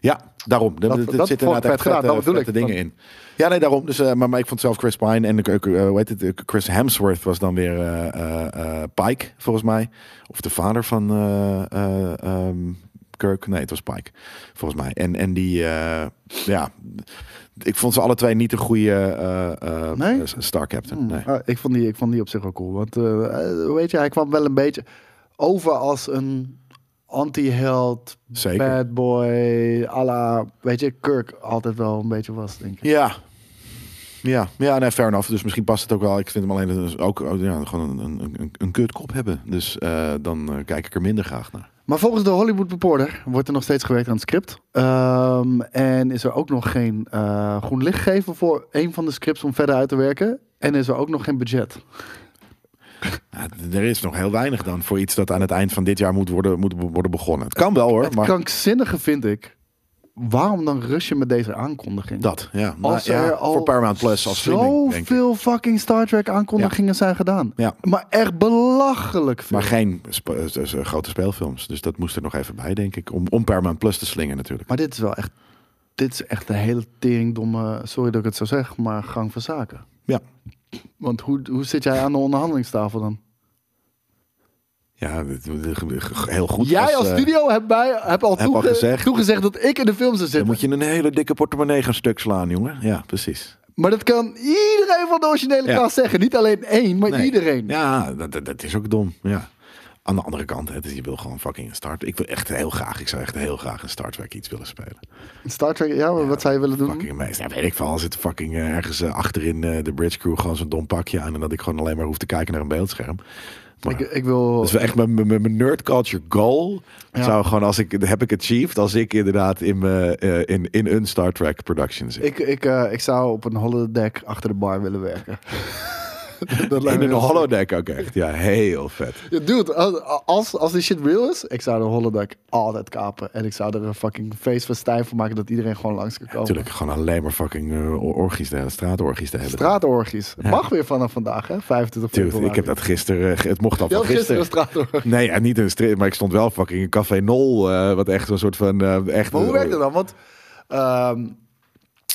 B: Ja, daarom. Er-
C: Dat-
B: er
C: dat
B: zitten
C: vond ik
B: inderdaad
C: vet
B: echt
C: gedaan, dat bedoel
B: vette
C: ik.
B: dingen in. Ja, nee, daarom. Dus, eh, maar, maar ik vond zelf Chris Pine en eh, eh, hoe heet het, eh, Chris Hemsworth was dan weer eh, eh, eh, Pike, volgens mij. Of de vader van eh, eh, ehm, Kirk. Nee, het was Pike, volgens mij. En, en die, eh, ja, ik vond ze alle twee niet de goede eh, eh,
C: Nee?
B: eh, Star Captain.
C: Hmm.
B: Nee.
C: Ah, ik, vond die, ik vond die op zich wel cool. Want eh, eh, weet je, hij kwam wel een beetje over als een anti-held,
B: Zeker.
C: bad boy, à la, weet je, Kirk altijd wel een beetje was, denk ik.
B: Ja. Ja, ja nee, fair enough. Dus misschien past het ook wel. Ik vind hem alleen dat- ook ook, ja, gewoon een, een, een, een kutkop hebben. Dus eh, dan eh, kijk ik er minder graag naar.
C: Maar volgens de Hollywood Reporter wordt er nog steeds gewerkt aan het script. Ehm, en is er ook nog geen eh, groen licht gegeven voor een van de scripts om verder uit te werken. En is er ook nog geen budget.
B: Ja, d- er is nog heel weinig dan voor iets dat aan het eind van dit jaar moet worden, moet be- worden begonnen. Het kan wel hoor,
C: Het
B: maar
C: krankzinnige vind ik, waarom dan rush je met deze aankondiging?
B: dat. Ja, Nou,
C: Als
B: ja,
C: er al
B: voor Paramount Plus als streaming, denk ik.
C: zoveel fucking Star Trek aankondigingen zijn gedaan.
B: Ja.
C: Maar echt belachelijk veel.
B: Maar geen sp- eh, dus, eh, grote speelfilms. Dus dat moest er nog even bij, denk ik. Om, om Paramount Plus te slingen natuurlijk.
C: Maar dit is wel echt, dit is echt een hele teringdomme, sorry dat ik het zo zeg, maar gang van zaken.
B: Ja,
C: Want hoe, hoe zit jij aan de onderhandelingstafel dan?
B: ja dit- dit- dit- heel goed.
C: Jij als
B: eh,
C: studio hebt, bij, hebt al,
B: heb al
C: toege-
B: gezegd.
C: toegezegd dat ik in de film zou
B: Dan
C: zitten.
B: moet je een hele dikke portemonnee gaan stuk slaan, jongen. Ja, precies.
C: Maar dat kan iedereen van de originele
B: Ja.
C: cast zeggen. Niet alleen één, maar
B: Nee.
C: iedereen.
B: Ja, dat, dat, dat is ook dom. Ja. Aan de andere kant, hè, dus je wil gewoon fucking een start. Ik wil echt heel graag, ik zou echt heel graag een Star Trek iets willen spelen.
C: Star Trek, ja, maar wat zou je willen doen?
B: Fucking meest. Ja, weet ik veel. Als het fucking eh, ergens eh, achterin eh, de bridge crew gewoon zo'n dom pakje aan en dat ik gewoon alleen maar hoef te kijken naar een beeldscherm. Maar
C: Ik, eh, ik wil...
B: dat is wel echt mijn, mijn, mijn nerd culture goal.
C: Ja.
B: Zou gewoon als ik heb ik achieved als ik inderdaad in, mijn, eh, in, in een Star Trek production zit.
C: Ik, ik, eh, ik zou op een holodeck achter de bar willen werken. dat
B: in
C: me
B: een
C: heel
B: holodeck ook echt. Ja, heel vet.
C: Ja, Dude, als- als, als die shit real is, ik zou de holodeck altijd kapen. En ik zou er een fucking feestfestijn van maken dat iedereen gewoon langs kan komen.
B: Natuurlijk, gewoon alleen maar fucking eh, or- orgies de hele straatorgies de hele dag.
C: Straatorgies. Mag weer vanaf vandaag, hè? 25
B: Dude,
C: februari.
B: ik heb dat gisteren, eh, het mocht al
C: Je
B: van
C: had gisteren een
B: gisteren.
C: straatorgie.
B: Nee, ja, niet in een strip, maar ik stond wel fucking in Café Nol, eh, wat echt zo'n soort van... eh, echt,
C: Maar hoe
B: eh,
C: werkt dat dan? Want ehm,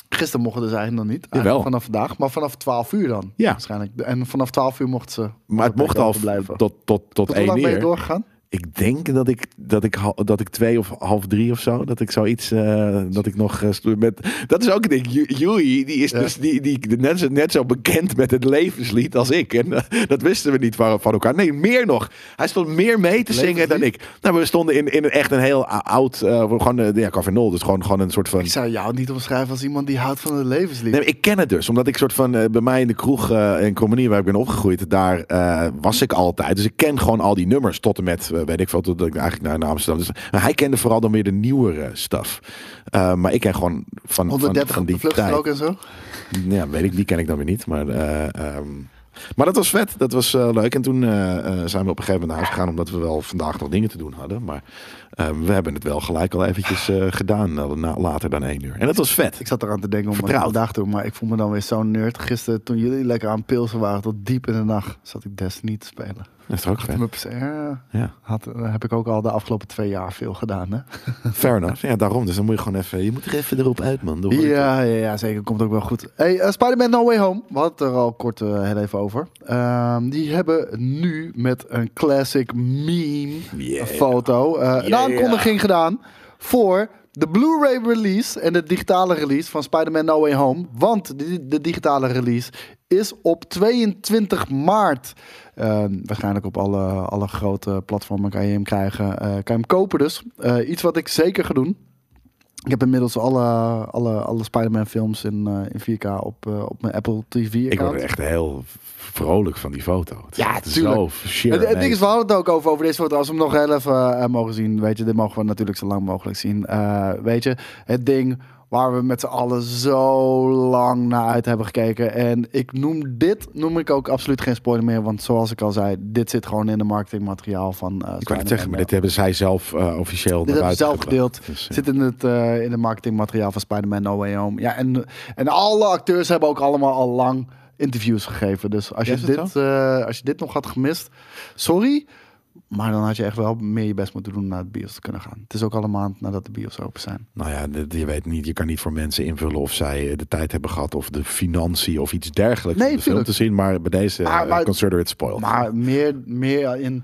C: gisteren mochten dus eigenlijk nog niet. Eigenlijk
B: Jawel.
C: Vanaf vandaag, maar vanaf 12 uur dan.
B: Ja.
C: Waarschijnlijk. En vanaf 12 uur mochten ze.
B: Maar het mocht al
C: blijven.
B: tot, tot, tot
C: Tot hoe lang
B: één
C: ben je
B: uur.
C: doorgegaan?
B: Ik denk dat ik, dat, ik, hal- dat ik twee of half drie of zo, dat ik zoiets, eh, dat ik nog eh, stu- met... Dat is ook een ding, Ju- Joey, die is
C: Ja.
B: dus die, die, net, zo, net zo bekend met het levenslied als ik. En eh, dat wisten we niet van, van elkaar. Nee, meer nog. Hij stond meer mee te zingen dan ik. Nou, we stonden in, in echt een heel ou- oud, eh, gewoon, eh, ja, Café Nol, dus gewoon, gewoon een soort van...
C: Ik zou jou niet omschrijven als iemand die houdt van het levenslied.
B: Nee, maar ik ken het dus, omdat ik soort van eh, bij mij in de kroeg eh in Commonie waar ik ben opgegroeid, daar eh, was ik altijd. Dus ik ken gewoon al die nummers tot en met, eh, weet ik veel, tot ik eigenlijk naar, naar Amsterdam. Dus, maar hij kende vooral dan weer de nieuwere stuff. Eh, maar ik ken gewoon van, van,
C: 130
B: van
C: op de
B: die tijd.
C: vluchtstrook en zo.
B: Ja, weet ik, die ken ik dan weer niet. Maar, eh, ehm, maar dat was vet, dat was eh, leuk. En toen eh, eh, zijn we op een gegeven moment naar huis gegaan, omdat we wel vandaag nog dingen te doen hadden. Maar eh, we hebben het wel gelijk al eventjes eh, gedaan, eh, na- later dan één uur. En dat was vet.
C: Ik zat eraan te denken om het
B: Vertrouwd.
C: vandaag te doen, maar ik voel me dan weer zo'n nerd. Gisteren, toen jullie lekker aan pilsen waren tot diep in de nacht, zat ik Destiny te spelen.
B: Dat is toch ook vet.
C: Mijn PC, ja,
B: Ja.
C: had, heb ik ook al de afgelopen twee jaar veel gedaan, hè?
B: Fair enough. Ja, daarom. Dus dan moet je gewoon even... Je moet er even erop uit, man. Door.
C: Ja, ja, ja, zeker. Komt ook wel goed. Hey, eh, Spider-Man No Way Home. We hadden het er al kort eh, heel even over. Ehm, die hebben nu met een classic meme
B: Yeah.
C: foto eh, een
B: Yeah.
C: aankondiging gedaan voor de Blu-ray release en de digitale release van Spider-Man No Way Home. Want de, de digitale release is op 22 maart. Eh, waarschijnlijk op alle, alle grote platformen kan je hem krijgen. Eh, kan je hem kopen dus. Eh, iets wat ik zeker ga doen. Ik heb inmiddels alle, alle, alle Spider-Man films in, eh, in 4K op, eh, op mijn Apple TV account.
B: Ik word er echt heel vrolijk van die foto. Het is
C: Ja,
B: echt
C: tuurlijk.
B: Zo sheer
C: Het, het ding is, we
B: amazing.
C: hadden het ook over, over deze foto. Als we hem nog heel even eh, mogen zien. Weet je, dit mogen we natuurlijk zo lang mogelijk zien. Eh, weet je, het ding Waar we met z'n allen zo lang naar uit hebben gekeken. En ik noem dit, noem ik ook absoluut geen spoiler meer. Want zoals ik al zei, dit zit gewoon in de marketingmateriaal van eh,
B: Ik kan het
C: Spider-Man
B: zeggen, maar dit hebben zij zelf eh, officieel
C: dit
B: naar
C: hebben ze
B: buiten
C: zelf
B: gebracht.
C: gedeeld.
B: Dus, eh,
C: Zit in het, eh, in het marketingmateriaal van Spider-Man No Way Home. Ja, en, en alle acteurs hebben ook allemaal al lang interviews gegeven. Dus als,
B: Is
C: je
B: het
C: dit, eh, als je dit nog had gemist, sorry. Maar dan had je echt wel meer je best moeten doen om naar de bios te kunnen gaan. Het is ook al een maand nadat de bios open zijn.
B: Nou ja, dit- je weet niet, je kan niet voor mensen invullen of zij eh, de tijd hebben gehad of de financiën of iets dergelijks
C: Nee,
B: om de film
C: tuurlijk.
B: te zien. Maar bij deze
C: Maar-
B: eh,
C: maar-
B: consider it spoiled.
C: Maar meer, meer in,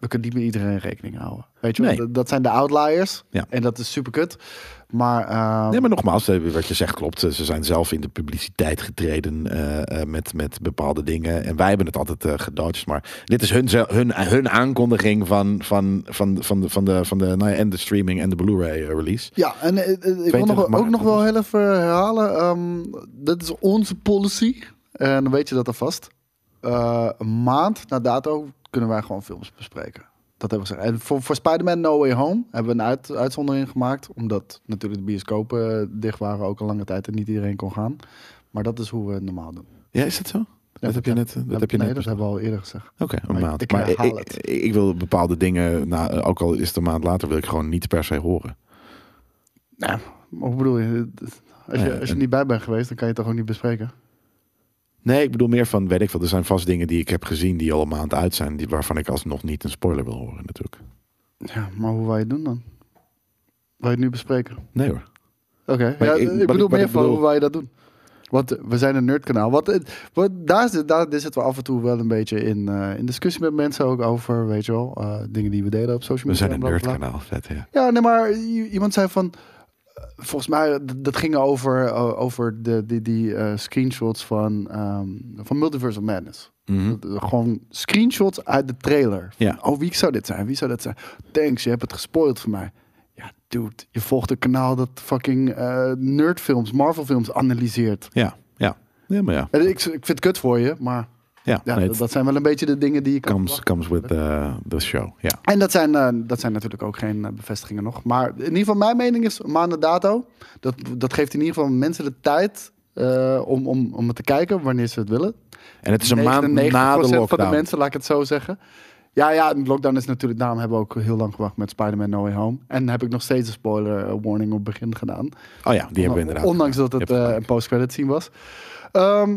C: we kunnen niet met iedereen rekening houden. Weet je, wel?
B: Nee.
C: dat, dat zijn de outliers.
B: Ja.
C: En dat is super kut. Maar, eh,
B: Nee, maar nogmaals, eh, wat je zegt klopt. Ze zijn zelf in de publiciteit getreden eh, eh, met, met bepaalde dingen. En wij hebben het altijd eh gedodged. Maar dit is hun, zel- hun, eh, hun aankondiging van, van, van, van, de, van, de, van de, nou ja, en de streaming en de Blu-ray eh, release.
C: Ja, en eh, eh, ik wil
B: 22
C: nog, wel- ook
B: maart,
C: nog wel
B: dus.
C: heel even herhalen. ehm, dat is onze policy. En dan weet je dat alvast. Eh een maand na dato kunnen wij gewoon films bespreken. Dat hebben we gezegd. En voor, voor Spider-Man No Way Home hebben we een uit- uitzondering gemaakt. Omdat natuurlijk de bioscopen eh, dicht waren ook een lange tijd en niet iedereen kon gaan. Maar dat is hoe we het normaal doen.
B: Ja, is dat zo? dat heb je net. eh, Dat heb je
C: nee,
B: net
C: dat hebben we al eerder gezegd.
B: Oké, een
C: Maar
B: maand.
C: ik
B: maar
C: herhaal
B: ik,
C: het.
B: ik, ik wil bepaalde dingen, nou, eh, ook al is het een maand later, wil ik gewoon niet per se horen.
C: Nou, maar hoe bedoel je? Als
B: Nou
C: je,
B: ja,
C: als je
B: en-
C: niet bij bent geweest, dan kan je het toch ook niet bespreken?
B: Nee, ik bedoel meer van, weet ik veel, er zijn vast dingen die ik heb gezien die al een maand uit zijn, die, waarvan ik alsnog niet een spoiler wil horen natuurlijk.
C: Ja, maar hoe wil je het doen dan? Wil je het nu bespreken?
B: Nee hoor.
C: Oké,
B: Maar
C: ja,
B: ik-
C: ik,
B: wat ik-
C: bedoel
B: wat
C: meer
B: ik
C: van
B: bedoel-
C: hoe wij dat doen. Want eh, we zijn een nerdkanaal. Wat, het- wat, daar, zit, daar daar zitten we af en toe wel een beetje in, eh, in discussie met mensen ook over, weet je wel, eh, dingen die we deden op social
B: We
C: media.
B: zijn een
C: en blablabla.
B: nerdkanaal, vet ja.
C: Ja, nee, maar i- iemand zei van, eh, volgens mij, d- dat ging over, eh, over de, die, die eh, screenshots van, ehm, van Multiverse of Madness.
B: Mhm.
C: Dat- eh, Gewoon screenshots uit de trailer.
B: Ja.
C: Oh, wie zou dit zijn? Wie zou dat zijn? Thanks, je hebt het gespoild voor mij. Ja, dude, je volgt een kanaal dat fucking eh, nerdfilms, Marvelfilms analyseert.
B: Ja, ja. Ja, maar ja.
C: En ik, ik vind het kut voor je, maar
B: Ja,
C: ja,
B: nee,
C: dat,
B: het
C: dat zijn wel een beetje de dingen die je kan
B: comes,
C: verwachten.
B: comes with the, the show, ja.
C: En dat zijn, eh, dat zijn natuurlijk ook geen eh, bevestigingen nog. Maar in ieder geval, mijn mening is maanden dato. Dat, dat geeft in ieder geval mensen de tijd eh, om, om, om het te kijken wanneer ze het willen.
B: En het is een maand na de
C: 99%
B: lockdown.
C: van de mensen, laat ik het zo zeggen. Ja, ja, de lockdown is natuurlijk... Daarom hebben we ook heel lang gewacht met Spider-Man No Way Home. En heb ik nog steeds een spoiler eh, warning op het begin gedaan.
B: Oh ja, die hebben we inderdaad.
C: Ondanks dat het
B: Je hebt
C: eh, een
B: gelijk.
C: post-credit scene was. Ehm,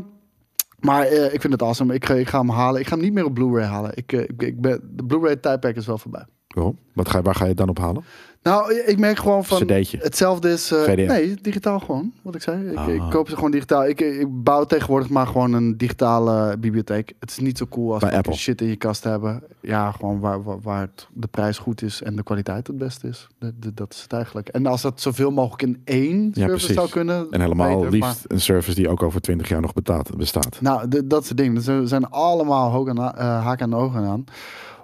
C: maar eh, ik vind het awesome. Ik, eh, ik ga hem halen. Ik ga hem niet meer op Blu-ray halen. Ik, eh, ik, ik ben, de Blu-ray tijdperk is wel voorbij.
B: Waarom? Wat ga, je- waar ga je het dan op halen?
C: Nou, ik merk gewoon van
B: CD'tje.
C: hetzelfde is. eh,
B: VDM.
C: nee, digitaal gewoon. Wat ik zei. Ik,
B: Ah.
C: ik koop ze gewoon digitaal. Ik, ik bouw tegenwoordig maar gewoon een digitale bibliotheek. Het is niet zo cool als
B: Bij
C: fucking
B: Apple.
C: shit in je kast hebben. Ja, gewoon waar, waar, waar het- de prijs goed is en de kwaliteit het beste is. Dat- dat- dat is het eigenlijk. En als dat zoveel mogelijk in één service
B: precies.
C: zou kunnen.
B: En helemaal
C: beter, maar-
B: liefst een service die ook over 20 jaar nog betaat, bestaat.
C: nou, d- dat soort dingen. Ze zijn allemaal hoog en ha- eh, haak aan de ogen aan.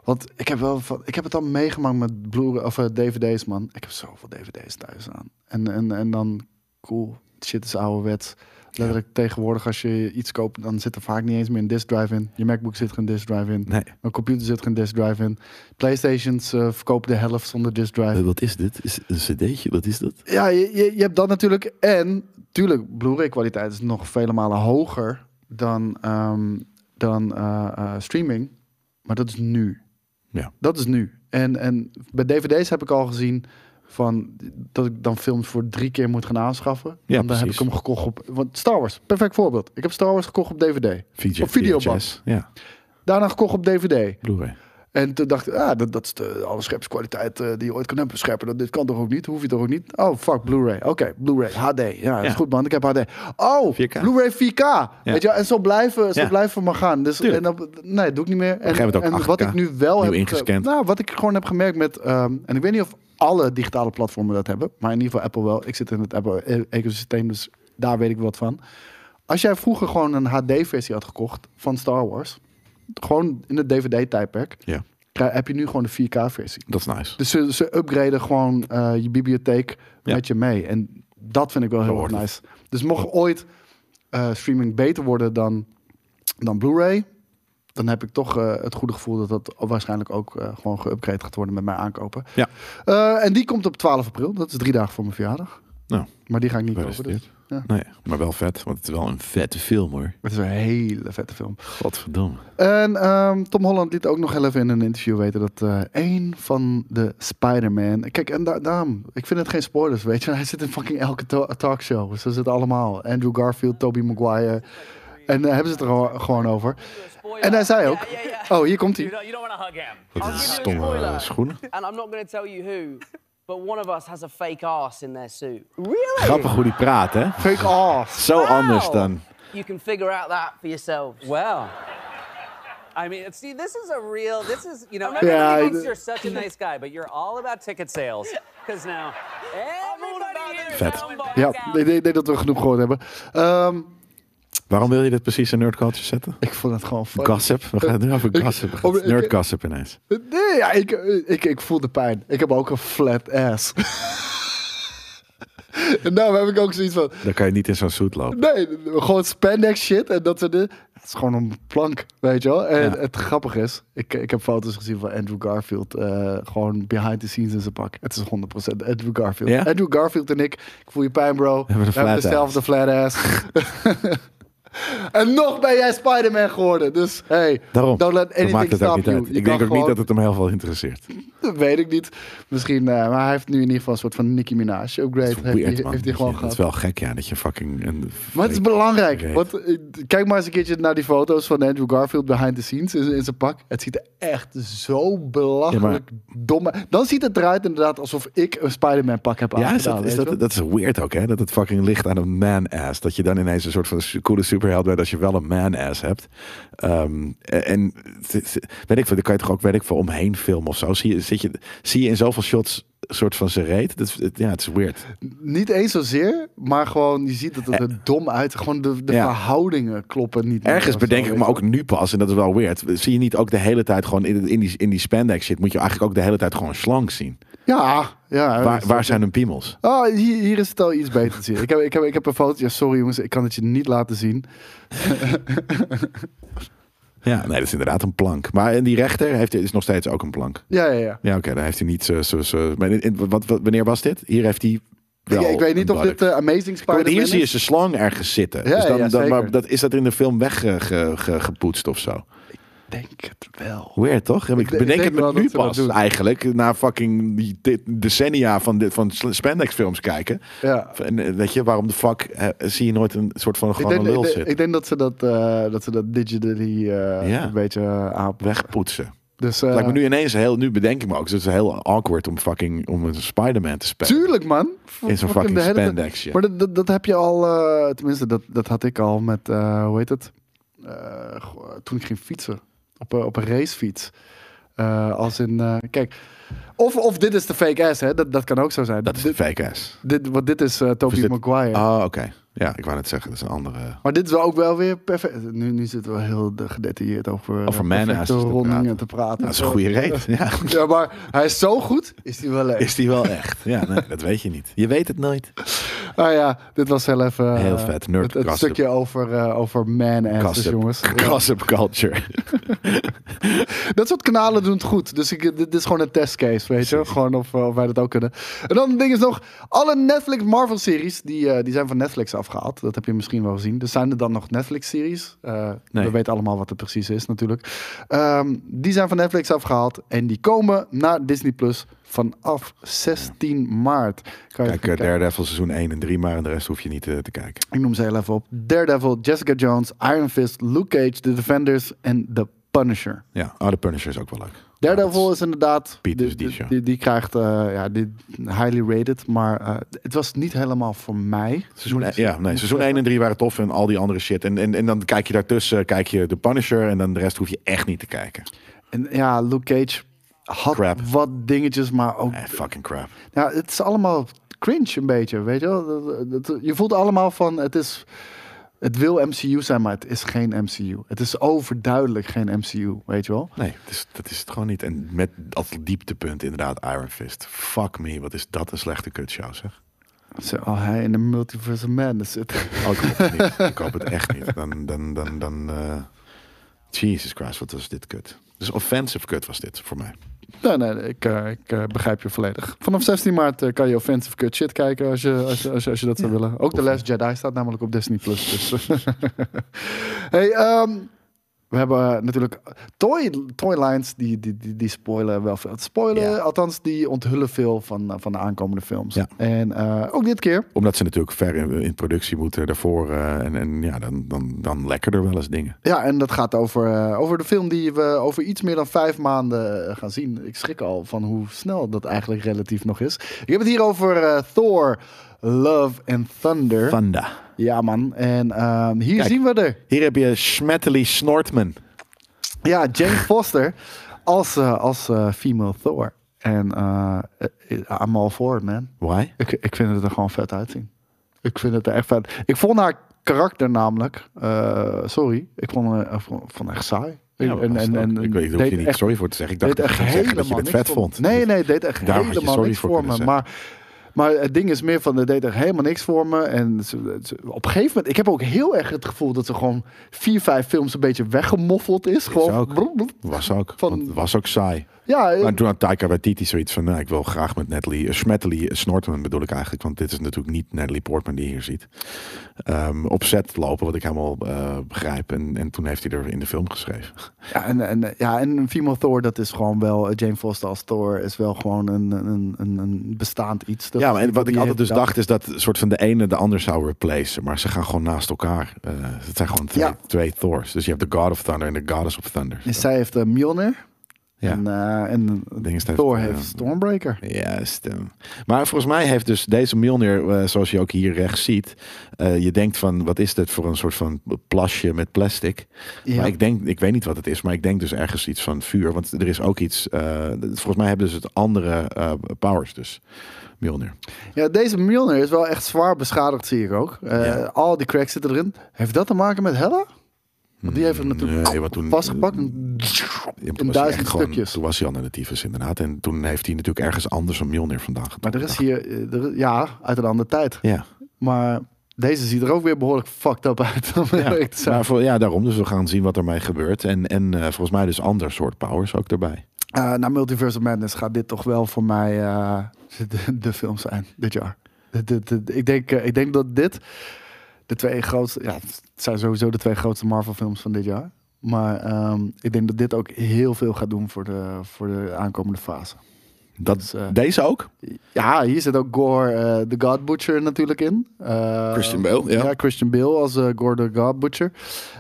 C: Want ik heb, wel, van- ik heb het al meegemaakt met Blu of eh, DVD's, man. Ik heb zoveel DVD's thuis aan. En, en, en dan, cool, shit is ouderwets. Letterlijk tegenwoordig, als je iets koopt, dan zit er vaak niet eens meer een disk drive in. Je MacBook zit geen disk drive in.
B: Nee.
C: Mijn computer zit geen disk drive in. Playstations eh, verkopen de helft zonder disk drive.
B: Eh, Wat is dit? Is het een cd'tje? Wat is dat?
C: Ja, je, je, je hebt dat natuurlijk. En tuurlijk, Blu-ray kwaliteit is nog vele malen hoger dan, ehm, dan eh, eh, streaming. Maar dat is nu.
B: Ja.
C: Dat is nu. En, en bij dvd's heb ik al gezien van dat ik dan films voor drie keer moet gaan aanschaffen. en dan heb
B: precies.
C: ik hem gekocht op... Want Star Wars, perfect voorbeeld. Ik heb Star Wars gekocht op dvd.
B: VJ,
C: Op videoband.
B: VHS. Ja,
C: Daarna gekocht op dvd.
B: Blu-ray.
C: En toen dacht ik, ah, dat, dat is de alle scherpskwaliteit eh, die je ooit kan hebben. Scherper, dat, dit kan toch ook niet? Hoef je toch ook niet? Oh, fuck, Blu-ray. Oké, Blu-ray, HD. Ja, dat is
B: Ja.
C: goed man, ik heb HD. Oh,
B: 4K.
C: Blu-ray 4K. Weet je, wel? en zo blijven, zo
B: Ja.
C: blijven maar gaan. Dus, en
B: Tuurlijk.
C: dat, nee, doe ik niet meer. En,
B: gegeven moment ook
C: en wat
B: 8K,
C: ik nu wel
B: nieuw
C: heb... ge-
B: ingescand.
C: Nou, wat ik gewoon heb gemerkt met... ehm, en ik weet niet of alle digitale platformen dat hebben. Maar in ieder geval Apple wel. Ik zit in het Apple-ecosysteem, dus daar weet ik wat van. Als jij vroeger gewoon een HD-versie had gekocht van Star Wars... Gewoon in het DVD-tijdperk
B: Ja,
C: krijg- heb je nu gewoon de 4K-versie.
B: dat is nice.
C: Dus ze, ze upgraden gewoon eh, je bibliotheek
B: Ja.
C: met je mee. En dat vind ik wel
B: Zo
C: heel erg
B: hoort het.
C: nice. Dus mocht ooit eh, streaming beter worden dan, dan Blu-ray... dan heb ik toch eh, het goede gevoel dat dat waarschijnlijk ook eh, gewoon geüpgrade gaat worden met mijn aankopen.
B: Ja.
C: Eh, en die komt op 12 april. Dat is drie dagen voor mijn verjaardag.
B: Nou,
C: Maar die ga ik niet kopen.
B: gefeliciteerd.
C: Dus. Ja.
B: Nee, maar wel vet, want het is wel een vette film hoor.
C: Het is een hele vette film.
B: Godverdomme.
C: En ehm, Tom Holland liet ook nog heel even in een interview weten dat eh één van de Spider-Man. Kijk, en da- daarom, ik vind het geen spoilers, weet je. Hij zit in fucking elke to- talkshow. Dus Ze zitten allemaal. Andrew Garfield, Tobey Maguire. En daar hebben ze het er gewoon- gewoon over. En hij zei ook. Oh, hier komt
D: You
C: hij.
D: don't, you don't want to hug him.
B: Dat is stomme eh, schoenen.
E: And I'm not going to tell you who, but one of us has a fake ass in their suit.
B: Grappig hoe die praat, hè?
C: Fake off.
B: Zo anders dan.
E: You can figure out that for yourselves.
D: Well, I mean, it's,
F: See, this is a real. This is you know.
C: Yeah,
F: Everybody
C: I
F: thinks
C: d-
F: you're such a nice guy, but you're all about ticket sales. Because now everybody here
B: Vet.
F: is down
C: Ja,
F: bad.
C: ik denk- denk dat we genoeg gehoord hebben. Ehm,
B: Waarom wil je dit precies in nerdculture zetten?
C: ik vond het gewoon funny.
B: Gossip? We gaan het nu over gossip.
C: Om- ik-
B: Nerdgossip ineens.
C: Nee, ja, ik, ik, ik voel de pijn. Ik heb ook een flat ass. en daarom heb ik ook zoiets van...
B: Dan kan je niet in zo'n suit lopen.
C: Nee, gewoon spandex shit en dat soort dingen. Het is gewoon een plank, weet je wel. En
B: Ja.
C: het grappige is, ik, ik heb foto's gezien van Andrew Garfield. eh, gewoon behind the scenes in zijn pak. Het is 100% Andrew Garfield.
B: Ja?
C: Andrew Garfield en ik, ik voel je pijn bro. We
B: hebben een flat
C: dezelfde flat ass. en nog ben jij Spider-Man geworden. Dus hey,
B: Daarom.
C: don't let
B: dat maakt
C: anything
B: het ook
C: stop
B: niet
C: you.
B: uit.
C: Je
B: Ik
C: kan
B: denk ook niet
C: gewoon-
B: dat het hem heel veel interesseert.
C: dat weet ik niet. Misschien, eh, maar hij heeft nu in ieder geval een soort van Nicki Minaj upgrade. Heeft hij-
B: Weird,
C: heeft
B: man.
C: hij
B: Dat
C: gewoon
B: je- dat is
C: gehad.
B: wel gek, ja. Dat je fucking... Een
C: Maar het is belangrijk.
B: Great.
C: Want eh, kijk maar eens een keertje naar die foto's van Andrew Garfield behind the scenes in, in zijn pak. Het ziet er echt zo belachelijk dom uit. Dan ziet het eruit inderdaad alsof ik een Spider-Man pak heb
B: Ja, is
C: aangedaan.
B: dat, is
C: weet je
B: dat,
C: wel?
B: dat is weird ook, hè? Dat het fucking ligt aan een man-ass. Dat je dan ineens een soort van su- coole superheld bent als je wel een man-ass hebt. Ehm, en- en t- t- weet ik veel, dan kan je toch ook, weet ik veel, omheen filmen of zo. Zie je, zit je, zie je in zoveel shots een soort van zijn reet? Dat, is- het- ja, het is weird.
C: Niet eens zozeer, maar gewoon je ziet dat het er dom uit. Gewoon de, de
B: Eh, Ja.
C: verhoudingen kloppen niet. meer
B: Ergens
C: of zo,
B: bedenk ik
C: weet
B: me
C: je
B: ook nu pas, en dat is wel weird. Zie je niet ook de hele tijd gewoon in, in, die, in die spandex shit, moet je eigenlijk ook de hele tijd gewoon slank zien.
C: wel. Ja, ja.
B: Waar, waar zijn hun piemels?
C: Ah, hier, hier is het al iets beter te zien. Ik heb, ik heb, ik heb een foto. Ja, sorry jongens, ik kan het je niet laten zien.
B: Ja, nee, dat is inderdaad een plank. Maar en die rechter heeft, is nog steeds ook een plank.
C: Ja, ja, ja.
B: Ja, oké, dan heeft hij niet zo. zo, zo maar in- in- wat, wat- wanneer was dit? Hier heeft hij. Wel
C: Ik, ik weet niet
B: een
C: of dit
B: buttock.
C: eh, Amazing
B: Kijk,
C: Spider-Man
B: want hier zie je
C: is.
B: zijn slang ergens zitten.
C: Ja,
B: dus dan,
C: ja,
B: dan, maar
C: zeker.
B: dat, is dat in de film eh, weggepoetst of zo?
C: Denk het wel.
B: Weird toch? Ik,
C: denk- ik
B: bedenk
C: denk
B: het me
C: wel
B: nu
C: dat ze dat
B: pas
C: doen.
B: eigenlijk. Na fucking die dit- decennia van, dit, van spandex films kijken.
C: Ja.
B: En, eh, weet je, waarom de fuck eh, zie je nooit een soort van
C: Ik
B: gewoon
C: denk,
B: een lul
C: ik, denk,
B: zitten?
C: ik denk dat ze dat, eh, dat, ze dat digitally eh,
B: Ja.
C: een beetje eh, aanpakken.
B: Wegpoetsen.
C: Dus, eh,
B: Lijkt me nu ineens heel, nu bedenk ik me ook, dus het is heel awkward om fucking om een Spider-Man te spelen.
C: Tuurlijk, man.
B: In zo'n fucking
C: de hele tijd-
B: spandex shit.
C: Maar dat, dat, dat heb je al, eh, tenminste, dat, dat had ik al met, eh, hoe heet het? Eh, go- toen ik ging fietsen. Op, een- op een racefiets. Eh, als in, eh, kijk. Of, of dit is de fake ass, hè? Dat, dat kan ook zo zijn.
B: Dat is een
C: dit,
B: fake ass.
C: dit, want dit is eh Tobey
B: dit-
C: Maguire.
B: Oh, oké. Ja, ik wou net zeggen, dat is een andere.
C: Maar dit is wel ook wel weer perfect. Nu, nu zitten we heel eh, gedetailleerd over,
B: Over
C: eh,
B: mijn
C: perfecte
B: ass te praten.
C: rondingen te praten.
B: Dat is een goede reet. Ja.
C: Ja, maar hij is zo goed, is hij wel leuk.
B: Is die wel echt? Ja, nee, dat weet je niet. Je weet het nooit.
C: Ah ja, dit was heel even eh,
B: Heel vet, nerd
C: het, het
B: gossip.
C: stukje over, eh, over man-asses,
B: Gossip,
C: jongens. Ja.
B: gossip culture.
C: Dat soort kanalen doen het goed. Dus ik, dit, dit is gewoon een testcase, weet je. Gewoon of, eh, of wij dat ook kunnen. En dan het ding is nog, alle Netflix Marvel-series, die, eh, die zijn van Netflix afgehaald. Dat heb je misschien wel gezien. Dus zijn er dan nog Netflix-series? Eh,
B: Nee.
C: We weten allemaal wat het precies is natuurlijk. Ehm, die zijn van Netflix afgehaald. En die komen naar Disney Plus vanaf 16 maart. Kan je
B: Kijk,
C: even
B: eh, Daredevil seizoen 1 en 3, maar en de rest hoef je niet eh, te kijken.
C: Ik noem ze heel even op. Daredevil, Jessica Jones, Iron Fist, Luke Cage, The Defenders en The Punisher.
B: Ja, oh, The Punisher is ook wel leuk.
C: Daredevil is inderdaad...
B: Pieters
C: die,
B: die show.
C: die, die, die krijgt, eh, ja, die highly rated, maar eh, het was niet helemaal voor mij. Dus-
B: Seizoen, ja, nee, seizoen 1 en 3 waren tof en al die andere shit. En, en, en dan kijk je daartussen, eh, kijk je The Punisher en dan de rest hoef je echt niet te kijken.
C: En ja, Luke Cage had
B: Crap.
C: wat dingetjes, maar ook...
B: Eh, fucking crap.
C: Ja, het is allemaal cringe een beetje, weet je wel? Dat- dat- dat- Je voelt allemaal van, het is... Het wil MCU zijn, maar het is geen MCU. Het is overduidelijk geen MCU, weet je wel?
B: Nee, het is, dat is het gewoon niet. En met als dieptepunt inderdaad Iron Fist. Fuck me, wat is dat een slechte kutshow zeg.
C: Zo, oh, hij in de Multiverse of Madness zit.
B: Oh, ik hoop het niet. Ik hoop het echt niet. Dan, dan, dan, dan. eh, Jesus Christ, wat was dit kut? Dus offensive kut was dit voor mij.
C: Nee, nee, nee, ik, eh, ik eh, begrijp je volledig. Vanaf 16 maart eh, kan je offensive cut shit kijken als je, als je, als je, als je dat zou willen. Ook The Last Jedi staat namelijk op Disney+. Plus. Dus. hey, ehm, we hebben eh, natuurlijk... Toy, toy lines, die, die, die, die spoilen wel veel. Spoilen,
B: Ja.
C: althans, die onthullen veel van, eh, van de aankomende films.
B: Ja.
C: En eh, ook dit keer
B: Omdat ze natuurlijk ver in, in productie moeten daarvoor. eh, en, en ja, dan, dan, dan lekker er wel eens dingen.
C: Ja, en dat gaat over, eh, over de film die we over iets meer dan vijf maanden eh, gaan zien. Ik schrik al van hoe snel dat eigenlijk relatief nog is. Ik heb het hier over eh, Thor, Love and Thunder.
B: Vanda.
C: Ja, man. En ehm, hier
B: Kijk.
C: zien we er.
B: Hier heb je Schmetterly Snortman.
C: Ja, Jane Foster als, eh, als eh, female Thor. En eh I'm all for it, man.
B: Why?
C: Ik, ik vind het er gewoon vet uitzien. Ik vind het er echt vet. Ik vond haar karakter namelijk, eh, sorry, ik vond haar ik vond- vond haar echt saai.
B: Ja, maar was het ook. ik weet, daar hoef
C: deed
B: je niet
C: echt-
B: sorry voor te zeggen. Ik dacht
C: deed
B: dat je ging zeggen dat je het
C: helemaal
B: vet
C: niks voor me.
B: vond.
C: Nee, nee, deed echt
B: Daarom had je
C: helemaal
B: sorry
C: niks
B: voor
C: voor me.
B: kunnen
C: Maar, maar het ding is meer van, het deed echt helemaal niks voor me. En ze- ze- op een gegeven moment, ik heb ook heel erg het gevoel dat ze gewoon vier, vijf films een beetje weggemoffeld is. Gewoon
B: ook.
C: broep, broep.
B: Was ook.
C: Van-
B: want het was ook saai.
C: Ja, eh,
B: Maar toen had Taika Waititi zoiets van, nou, ik wil graag met Natalie, eh, Schmetterly eh, Snortman bedoel ik eigenlijk, want dit is natuurlijk niet Natalie Portman die je hier ziet, ehm, op set lopen, wat ik helemaal eh, begrijp. En, en toen heeft hij er in de film geschreven.
C: Ja, en, en, ja, en een female Thor, dat is gewoon wel... eh, Jane Foster als Thor is wel gewoon een, een, een, een bestaand iets. Dat
B: ja, maar en
C: dat
B: wat ik
C: die
B: altijd dus
C: heeft-
B: dacht is dat soort van de ene de ander zou replacen, maar ze gaan gewoon naast elkaar. Eh, het zijn gewoon twee,
C: Ja.
B: twee Thors. Dus je hebt de God of Thunder en de Goddess of Thunder.
C: En zij heeft een Mjolnir.
B: Ja.
C: En, eh, en
B: ding is dat-
C: Thor
B: ja.
C: heeft Stormbreaker.
B: Ja, stem. Maar volgens mij heeft dus deze Milner, zoals je ook hier rechts ziet, eh, je denkt van wat is dit voor een soort van plasje met plastic?
C: Ja.
B: Maar ik denk, ik weet niet wat het is, maar ik denk dus ergens iets van vuur, want er is ook iets. eh, volgens mij hebben ze het andere eh, powers dus. Milner.
C: Ja, deze Mjolnir is wel echt zwaar beschadigd, zie ik ook. Eh,
B: Ja.
C: Al die cracks zitten erin. Heeft dat te maken met Hella? Want die heeft
B: Hmm,
C: hem natuurlijk
B: Nee, want toen-
C: vastgepakt.
B: toen
C: in
B: was hij echt
C: duizend
B: gewoon-
C: stukjes.
B: Toen was hij al naar de tyfus inderdaad, en toen heeft hij natuurlijk ergens anders een Milner vandaan
C: Maar
B: getrokken.
C: er is hier... eh, er- ja, uit een andere tijd.
B: Ja.
C: Maar deze ziet er ook weer behoorlijk fucked up uit. om eerlijk te zijn.
B: Maar voor, ja, daarom. Dus we gaan zien wat ermee gebeurt. En, en eh, volgens mij dus ander soort powers ook erbij.
C: Eh, na Multiverse of Madness gaat dit toch wel voor mij eh, de, de film zijn dit jaar. Dit- dit- dit- ik, denk, eh, ik denk dat dit de twee grootste... Ja, het zijn sowieso de twee grootste Marvel films van dit jaar. Maar ehm, ik denk dat dit ook heel veel gaat doen voor de, voor de aankomende fase.
B: Dat,
C: Dus, eh,
B: deze ook?
C: Ja, hier zit ook Gore eh, de God Butcher natuurlijk in. Eh,
B: Christian Bale, ja.
C: Christian Bale als eh, Gore the God Butcher.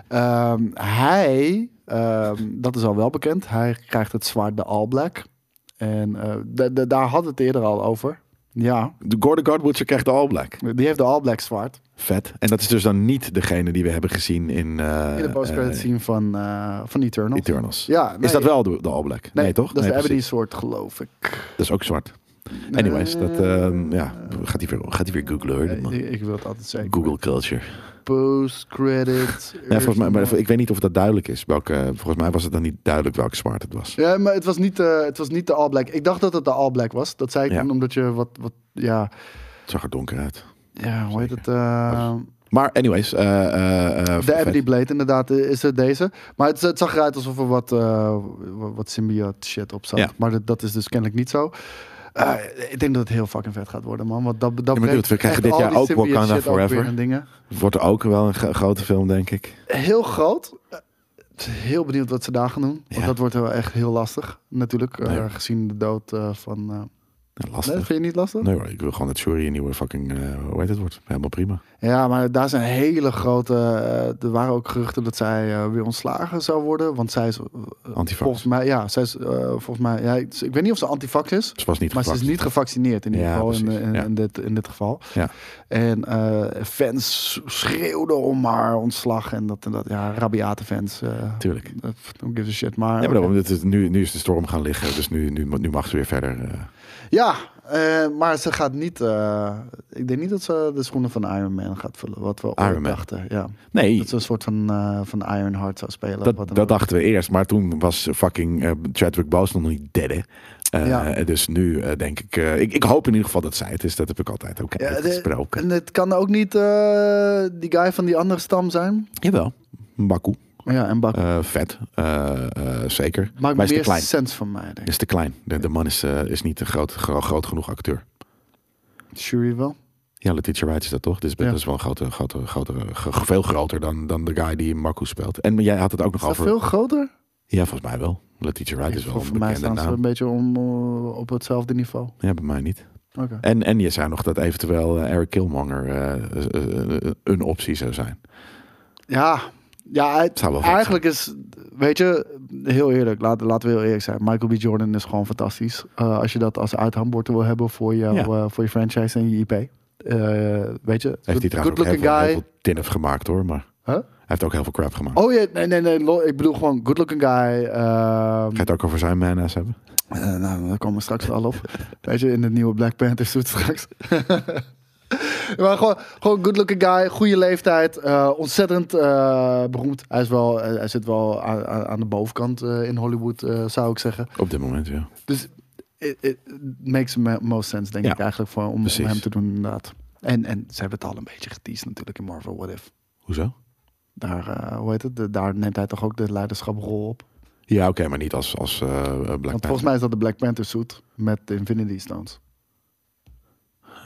C: Ehm, hij, ehm, dat is al wel bekend, hij krijgt het zwaard de All Black. En eh, da- da- daar had het eerder al over. Ja,
B: De Gordon Godwitcher krijgt de All Black.
C: die heeft de All Black zwaard.
B: Vet. En dat is dus dan niet degene die we hebben gezien in, eh
C: In de post-credit
B: eh,
C: scene van, eh van Eternals.
B: Eternals.
C: Ja, nee.
B: is dat wel de, de All Black? Nee, toch?
C: Dat is de
B: precies.
C: Ebony soort, geloof ik.
B: Dat is ook zwart. Anyways, dat eh, ja, gaat hij weer, gaat hij weer googlen hoor, dit man.
C: Eh, Ik, ik wil het altijd zeggen.
B: Google culture.
C: Post-credit.
B: Nee, volgens mij, maar ik weet niet of dat duidelijk is. Welke, volgens mij was het dan niet duidelijk welk zwart het was.
C: Ja, maar het was niet, eh, het was niet de All Black. Ik dacht dat het de All Black was. Dat zei ik
B: Ja.
C: toen omdat je wat, wat ja,
B: Het zag er donker uit.
C: ja, hoe heet het? eh,
B: Maar anyways. eh, eh, eh,
C: de
B: vet.
C: Ebony Blade inderdaad eh, is het deze. Maar het, het zag eruit alsof er wat, eh, wa- wat symbiote shit op zat.
B: Ja.
C: Maar dat, dat is dus kennelijk niet zo. Eh, ik denk dat het heel fucking vet gaat worden, man. Want dat, dat
B: maar
C: brengt
B: dude, we krijgen
C: echt
B: dit
C: al
B: jaar
C: die
B: ook
C: symbiote
B: Wakanda
C: shit ook weer
B: Forever.
C: en Dingen.
B: Wordt ook wel een gro- grote film, denk ik.
C: Heel groot. Eh, Heel benieuwd wat ze daar gaan doen. Want
B: Ja.
C: dat wordt wel echt heel lastig. Natuurlijk, eh,
B: Nee.
C: gezien de dood eh, van... eh,
B: Nou,
C: nee,
B: Lastig.
C: vind je niet lastig?
B: Nee hoor, ik wil gewoon dat Shuri een nieuwe fucking, eh, hoe heet het wordt. Helemaal prima.
C: Ja, maar daar zijn hele grote. eh, er waren ook geruchten dat zij eh, weer ontslagen zou worden. Want zij is. eh,
B: Antifa.
C: volgens mij, ja, zij is. eh, volgens mij, ja, ik, ik weet niet of ze antivax is.
B: Ze was niet
C: Maar ze is
B: gevaccineerd.
C: niet gevaccineerd in ieder
B: Ja,
C: geval. In, eh,
B: precies,
C: in-
B: ja.
C: in dit, in dit geval.
B: Ja.
C: En eh, fans schreeuwden om haar ontslag. En dat en dat. Ja, rabiate fans. eh
B: Tuurlijk. Ja,
C: dat- Who gives a shit. Maar,
B: maar daarom, dit is, nu, nu is de storm gaan liggen, dus nu, nu, nu mag ze weer verder. eh.
C: Ja, eh, maar ze gaat niet. eh, ik denk niet dat ze de schoenen van Iron Man gaat vullen. Wat we ooit
B: Iron Man.
C: dachten. Ja.
B: Nee,
C: Dat ze een soort van, eh van Iron Heart zou spelen.
B: dat,
C: wat dan
B: dat
C: ook.
B: dachten we eerst, maar toen was fucking eh, Chadwick Boseman nog niet derde. Eh,
C: Ja.
B: Dus nu eh, denk ik, eh, ik, ik hoop in ieder geval dat zij het is. Dat heb ik altijd ook
C: Ja, de-
B: gesproken.
C: en het kan ook niet eh, die guy van die andere stam zijn.
B: Jawel, Baku.
C: Ja, en bak.
B: Eh, vet, Eh, eh, zeker.
C: Maakt
B: maar is te
C: meer
B: klein.
C: sens van mij, denk ik.
B: Is te klein. De, de man is, eh, is niet een groot, gro- groot genoeg acteur.
C: Jury wel.
B: Ja, Letitia Wright is dat toch? Dit is,
C: Ja.
B: dat is wel een grote, grote, grote, ge- veel groter dan, dan de guy die Marco speelt. En jij had het ook nog
C: Is dat
B: over...
C: veel groter?
B: Ja, volgens mij wel. Letitia Wright is wel
C: Voor
B: een
C: voor mij
B: bekende
C: staan ze
B: naam.
C: een beetje om, eh, op hetzelfde niveau.
B: Ja, bij mij niet.
C: Oké.
B: En, en je zei nog dat eventueel eh, Eric Killmonger eh, eh, eh, een optie zou zijn.
C: Ja, ja het-
B: Zou wel vet
C: eigenlijk is, weet je, heel eerlijk, laten, laten we heel eerlijk zijn. Michael B. Jordan is gewoon fantastisch. Eh, als je dat als uithangbord wil hebben voor, jou,
B: Ja.
C: eh, voor je franchise en je IP. Eh, weet je,
B: Heeft hij
C: good-
B: trouwens ook heel
C: good-looking
B: veel,
C: guy.
B: heel veel tinnef gemaakt hoor, maar
C: Huh?
B: hij heeft ook heel veel crap gemaakt.
C: Oh ja, nee, nee, nee. lo- Ik bedoel gewoon good looking guy. ehm,
B: Ga je het ook over zijn mana's hebben?
C: eh, nou, daar komen we straks al op. Weet je, in de nieuwe Black Panther suit straks. maar gewoon, gewoon good looking guy, goede leeftijd, eh, ontzettend eh, beroemd. Hij, is wel, eh, hij zit wel aan, aan aan de bovenkant eh, in Hollywood, eh, zou ik zeggen.
B: Op dit moment, ja.
C: Dus it, it makes the most sense, denk
B: Ja,
C: ik eigenlijk, voor, om- om,
B: precies.
C: hem te doen inderdaad. En, en ze hebben het al een beetje geteased natuurlijk in Marvel What If.
B: Hoezo?
C: Daar, eh, hoe heet het? De- daar neemt hij toch ook de leiderschaprol op.
B: Ja, oké, maar niet als, als eh, eh, Black
C: Want
B: Panther.
C: volgens mij is dat de Black Panther suit met de Infinity Stones.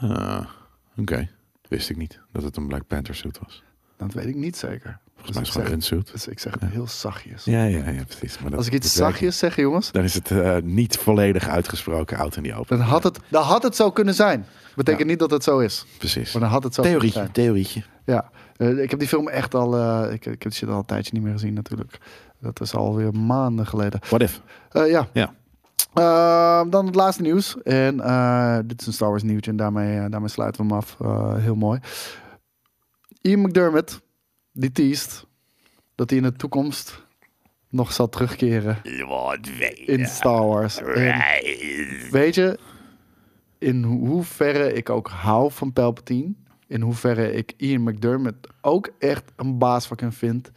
B: Ah, oké. Wist ik niet dat het een Black Panther suit was.
C: Dat weet ik niet zeker.
B: Volgens mij is
C: ik
B: het
C: zeg-
B: gewoon een suit.
C: Dus ik zeg het heel zachtjes.
B: Ja, ja, ja, precies. Maar dat-
C: Als ik iets
B: dat werkt
C: zachtjes zeg, jongens,
B: niet. Dan is het eh, niet volledig uitgesproken, oud en niet open.
C: dan had, het, dan had het zo kunnen zijn. Betekent niet dat het zo is.
B: Precies.
C: Maar dan had het zo
B: Theorietje,
C: kunnen
B: theorietje.
C: zijn. Ja. Eh, ik heb die film echt al... eh, ik, ik heb die shit al een tijdje niet meer gezien natuurlijk. Dat is alweer maanden geleden.
B: What if?
C: Eh, ja.
B: Ja.
C: Eh, dan het laatste nieuws. En eh, dit is een Star Wars nieuwtje en daarmee, eh, daarmee sluiten we hem af. Eh, heel mooi. Ian McDermott, die teased dat hij in de toekomst nog zal terugkeren in Star Wars. En weet je, in hoeverre ik ook hou van Palpatine, in hoeverre ik Ian McDermott ook echt een baas van vind,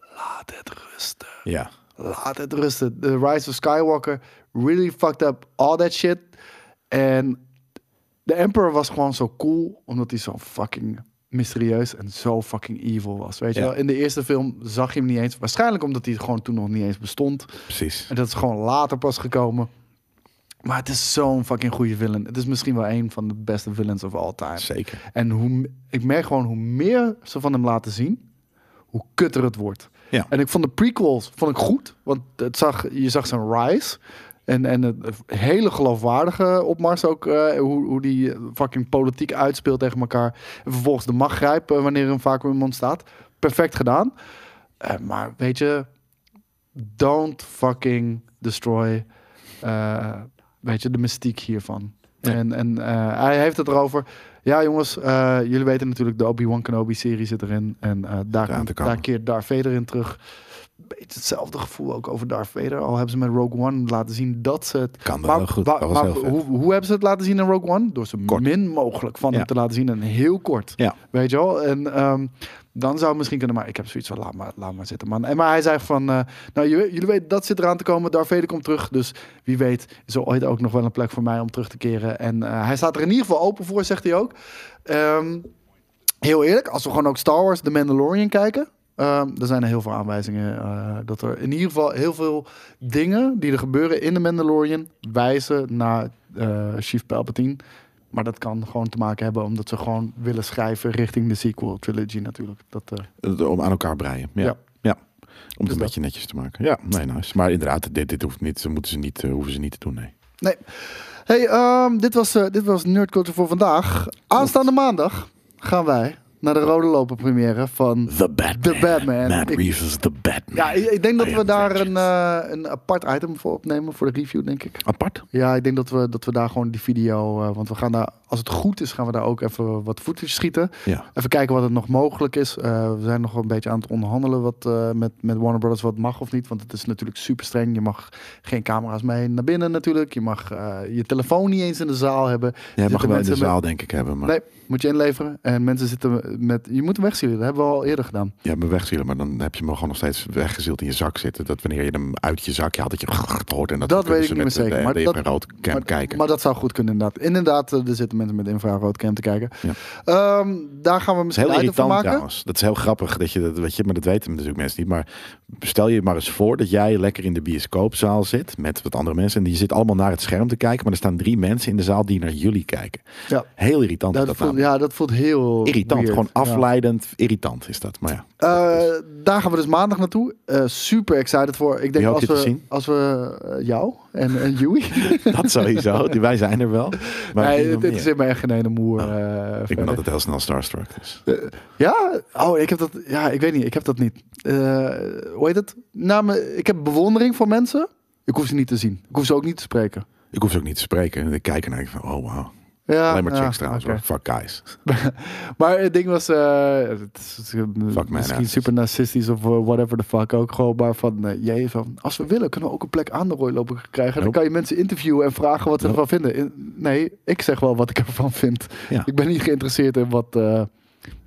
C: laat het rusten.
B: Ja.
C: Laat het rusten. The Rise of Skywalker really fucked up all that shit. En de Emperor was gewoon zo cool, omdat hij zo fucking mysterieus en zo fucking evil was. Weet je
B: Ja.
C: wel, in de eerste film zag je hem niet eens. Waarschijnlijk omdat hij gewoon toen nog niet eens bestond.
B: Precies.
C: En dat is gewoon later pas gekomen. Maar het is zo'n fucking goede villain. Het is misschien wel een van de beste villains of all time.
B: Zeker.
C: En hoe, m- ik merk gewoon hoe meer ze van hem laten zien, hoe kutter het wordt.
B: Ja.
C: En ik vond de prequels vond ik goed, want het zag, je zag zijn rise. En, en het hele geloofwaardige op Mars ook, eh, hoe, hoe die fucking politiek uitspeelt tegen elkaar. En vervolgens de macht grijpt eh, wanneer er een vacuüm ontstaat. Perfect gedaan. Eh, maar weet je, don't fucking destroy, eh, weet je, de mystiek hiervan. En, en eh, hij heeft het erover. Ja, jongens, eh, jullie weten natuurlijk, de Obi-Wan Kenobi-serie zit erin. En eh, daar,
B: Eraan te
C: komt,
B: komen.
C: daar keert Darth Vader in terug. Beetje hetzelfde gevoel ook over Darth Vader. Al hebben ze met Rogue One laten zien dat ze het...
B: Kan dat
C: maar,
B: heel goed.
C: waar-
B: Dat was
C: maar
B: heel vet.
C: hoe, hoe hebben ze het laten zien in Rogue One? Door zo
B: Kort.
C: min mogelijk van
B: Ja.
C: hem te laten zien. En heel kort.
B: Ja.
C: Weet je wel? En ehm, dan zou het misschien kunnen, maar ik heb zoiets van, laat maar, laat maar zitten, man. En maar hij zei van, eh, nou, jullie, jullie weten, dat zit eraan te komen. Darth Vader komt terug, dus wie weet is er ooit ook nog wel een plek voor mij om terug te keren. En eh, hij staat er in ieder geval open voor, zegt hij ook. Ehm, heel eerlijk, als we gewoon ook Star Wars The Mandalorian kijken... ehm er zijn er heel veel aanwijzingen eh, dat er in ieder geval heel veel dingen die er gebeuren in de Mandalorian wijzen naar eh, Chief Palpatine. Maar dat kan gewoon te maken hebben omdat ze gewoon willen schrijven richting de sequel trilogy natuurlijk. Dat, eh,
B: Eh, Om aan elkaar breien. Ja.
C: Ja. Dus
B: ja. Om het een beetje netjes te maken. Ja, nee, nice. Maar inderdaad, dit, dit hoeft niet, ze moeten ze niet, eh, hoeven ze niet te doen, nee.
C: Nee. Hey, ehm, dit, was, eh, dit was Nerd Culture voor vandaag. Aanstaande maandag gaan wij naar de Rode Loper première van
B: The Batman.
C: The Batman.
B: Matt
C: Ik-
B: Reeves is The Batman.
C: ja, ik, ik denk dat
B: I
C: we
B: am
C: daar een,
B: vengeance.
C: eh, een apart item voor opnemen voor de review, denk ik.
B: Apart?
C: Ja, ik denk dat we, dat we daar gewoon die video. eh, want we gaan daar, als het goed is, gaan we daar ook even wat footage schieten.
B: Ja.
C: Even kijken wat het nog mogelijk is. Eh, we zijn nog een beetje aan het onderhandelen wat, eh, met, met Warner Brothers wat mag of niet. Want het is natuurlijk super streng. Je mag geen camera's mee naar binnen natuurlijk. Je mag eh, je telefoon niet eens in de zaal hebben.
B: Ja,
C: Zitten
B: mag wel in
C: mensen
B: de
C: met-
B: zaal, denk ik, hebben. Maar,
C: Nee, moet je inleveren. En mensen zitten met... Je moet hem wegsturen. Dat hebben we al eerder gedaan.
B: Ja, maar wegzielen. Maar dan heb je hem gewoon nog steeds weggezield in je zak zitten. Dat wanneer je hem uit je zakje haalt, dat je hoort. En dat,
C: Dat weet
B: kunnen
C: ik
B: ze
C: niet meer
B: met de-
C: zeker,
B: de-
C: maar
B: de
C: dat-
B: infrarood cam
C: maar,
B: kijken.
C: maar dat zou goed kunnen inderdaad. Inderdaad, eh, er zitten mensen met infraroodcam te kijken.
B: Ja.
C: Ehm, daar gaan we
B: is heel
C: misschien een item van
B: irritant
C: maken.
B: trouwens. Dat is heel grappig dat je dat, weet je, maar dat weten natuurlijk mensen niet. Maar stel je maar eens voor dat jij lekker in de bioscoopzaal zit met wat andere mensen. En die zit allemaal naar het scherm te kijken. Maar er staan drie mensen in de zaal die naar jullie kijken.
C: Ja.
B: Heel irritant. is
C: Dat,
B: dat
C: voelt,
B: namelijk.
C: ja, dat voelt heel
B: Irritant,
C: weird.
B: gewoon
C: Ja.
B: afleidend. Irritant is dat. Maar ja.
C: Eh, daar gaan we dus maandag naartoe. Eh, super excited voor. Ik denk
B: hoopt
C: als
B: je te
C: we,
B: zien?
C: als we eh, jou en, en Joey.
B: Dat sowieso. Die, wij zijn er wel. Maar
C: nee,
B: op die
C: het
B: manier.
C: interesseert mij echt geen ene moer. eh,
B: ik ben
C: verder.
B: altijd heel snel starstruck. Dus.
C: Ja? Oh, ik heb dat... Ja, ik weet niet. Ik heb dat niet. Eh, hoe heet het? Nou, me- ik heb bewondering voor mensen. Ik hoef ze niet te zien. Ik hoef ze ook niet te spreken.
B: Ik hoef ze ook niet te spreken. Ik kijk ernaar en ik van, oh wow.
C: Ja,
B: Alleen maar
C: ja,
B: chicks trouwens.
C: oké.
B: hoor. Fuck guys.
C: Maar het ding was... eh, het is, het is- misschien
B: narcistisch.
C: super narcistisch of eh, whatever the fuck ook. Gewoon maar van... eh, jij van... Als we willen, kunnen we ook een plek aan de rooiloper krijgen. Dan
B: Nope.
C: kan je mensen interviewen en vragen wat ze ervan vinden. In- Nee, ik zeg wel wat ik ervan vind.
B: Ja.
C: Ik ben niet geïnteresseerd in wat... eh,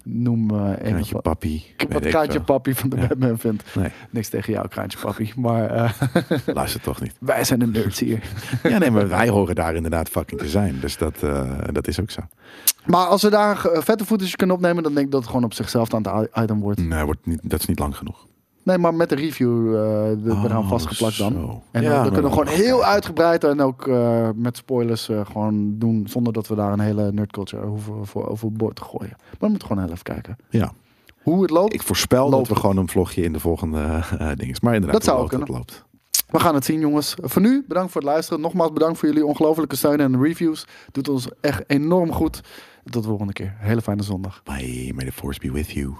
C: noem eh een
B: Kraantje
C: van-
B: papi. weet
C: Wat
B: ik
C: Kraantje
B: veel.
C: Papi van de Batman vindt.
B: Nee,
C: Niks tegen jou, kraantje papi. Maar eh,
B: luister toch niet.
C: wij zijn de nerds hier.
B: Ja, nee, maar wij horen daar inderdaad fucking te zijn. Dus dat, eh, dat is ook zo.
C: Maar als we daar eh, vette footage kunnen opnemen, dan denk ik dat het gewoon op zichzelf aan het i- item wordt.
B: Nee, wordt niet, dat is niet lang genoeg.
C: Nee, maar met de review eh
B: Oh,
C: ben aan vastgeplakt dan.
B: zo. Oh,
C: En
B: Ja,
C: dan,
B: maar-
C: kunnen we gewoon heel uitgebreid en ook eh, met spoilers eh, gewoon doen. Zonder dat we daar een hele nerdculture over, voor, overboord te gooien. Maar we moeten gewoon heel even kijken.
B: Ja.
C: Hoe het loopt,
B: Ik voorspel
C: Loopt
B: dat we
C: het.
B: gewoon een vlogje in de volgende eh ding is. Maar inderdaad,
C: Dat zou
B: hoe
C: ook
B: loopt, dat loopt.
C: we gaan het zien jongens. Voor nu, bedankt voor het luisteren. Nogmaals bedankt voor jullie ongelofelijke steun en reviews. Doet ons echt enorm goed. Tot de volgende keer. Hele fijne zondag.
B: Bye, may the force be with you.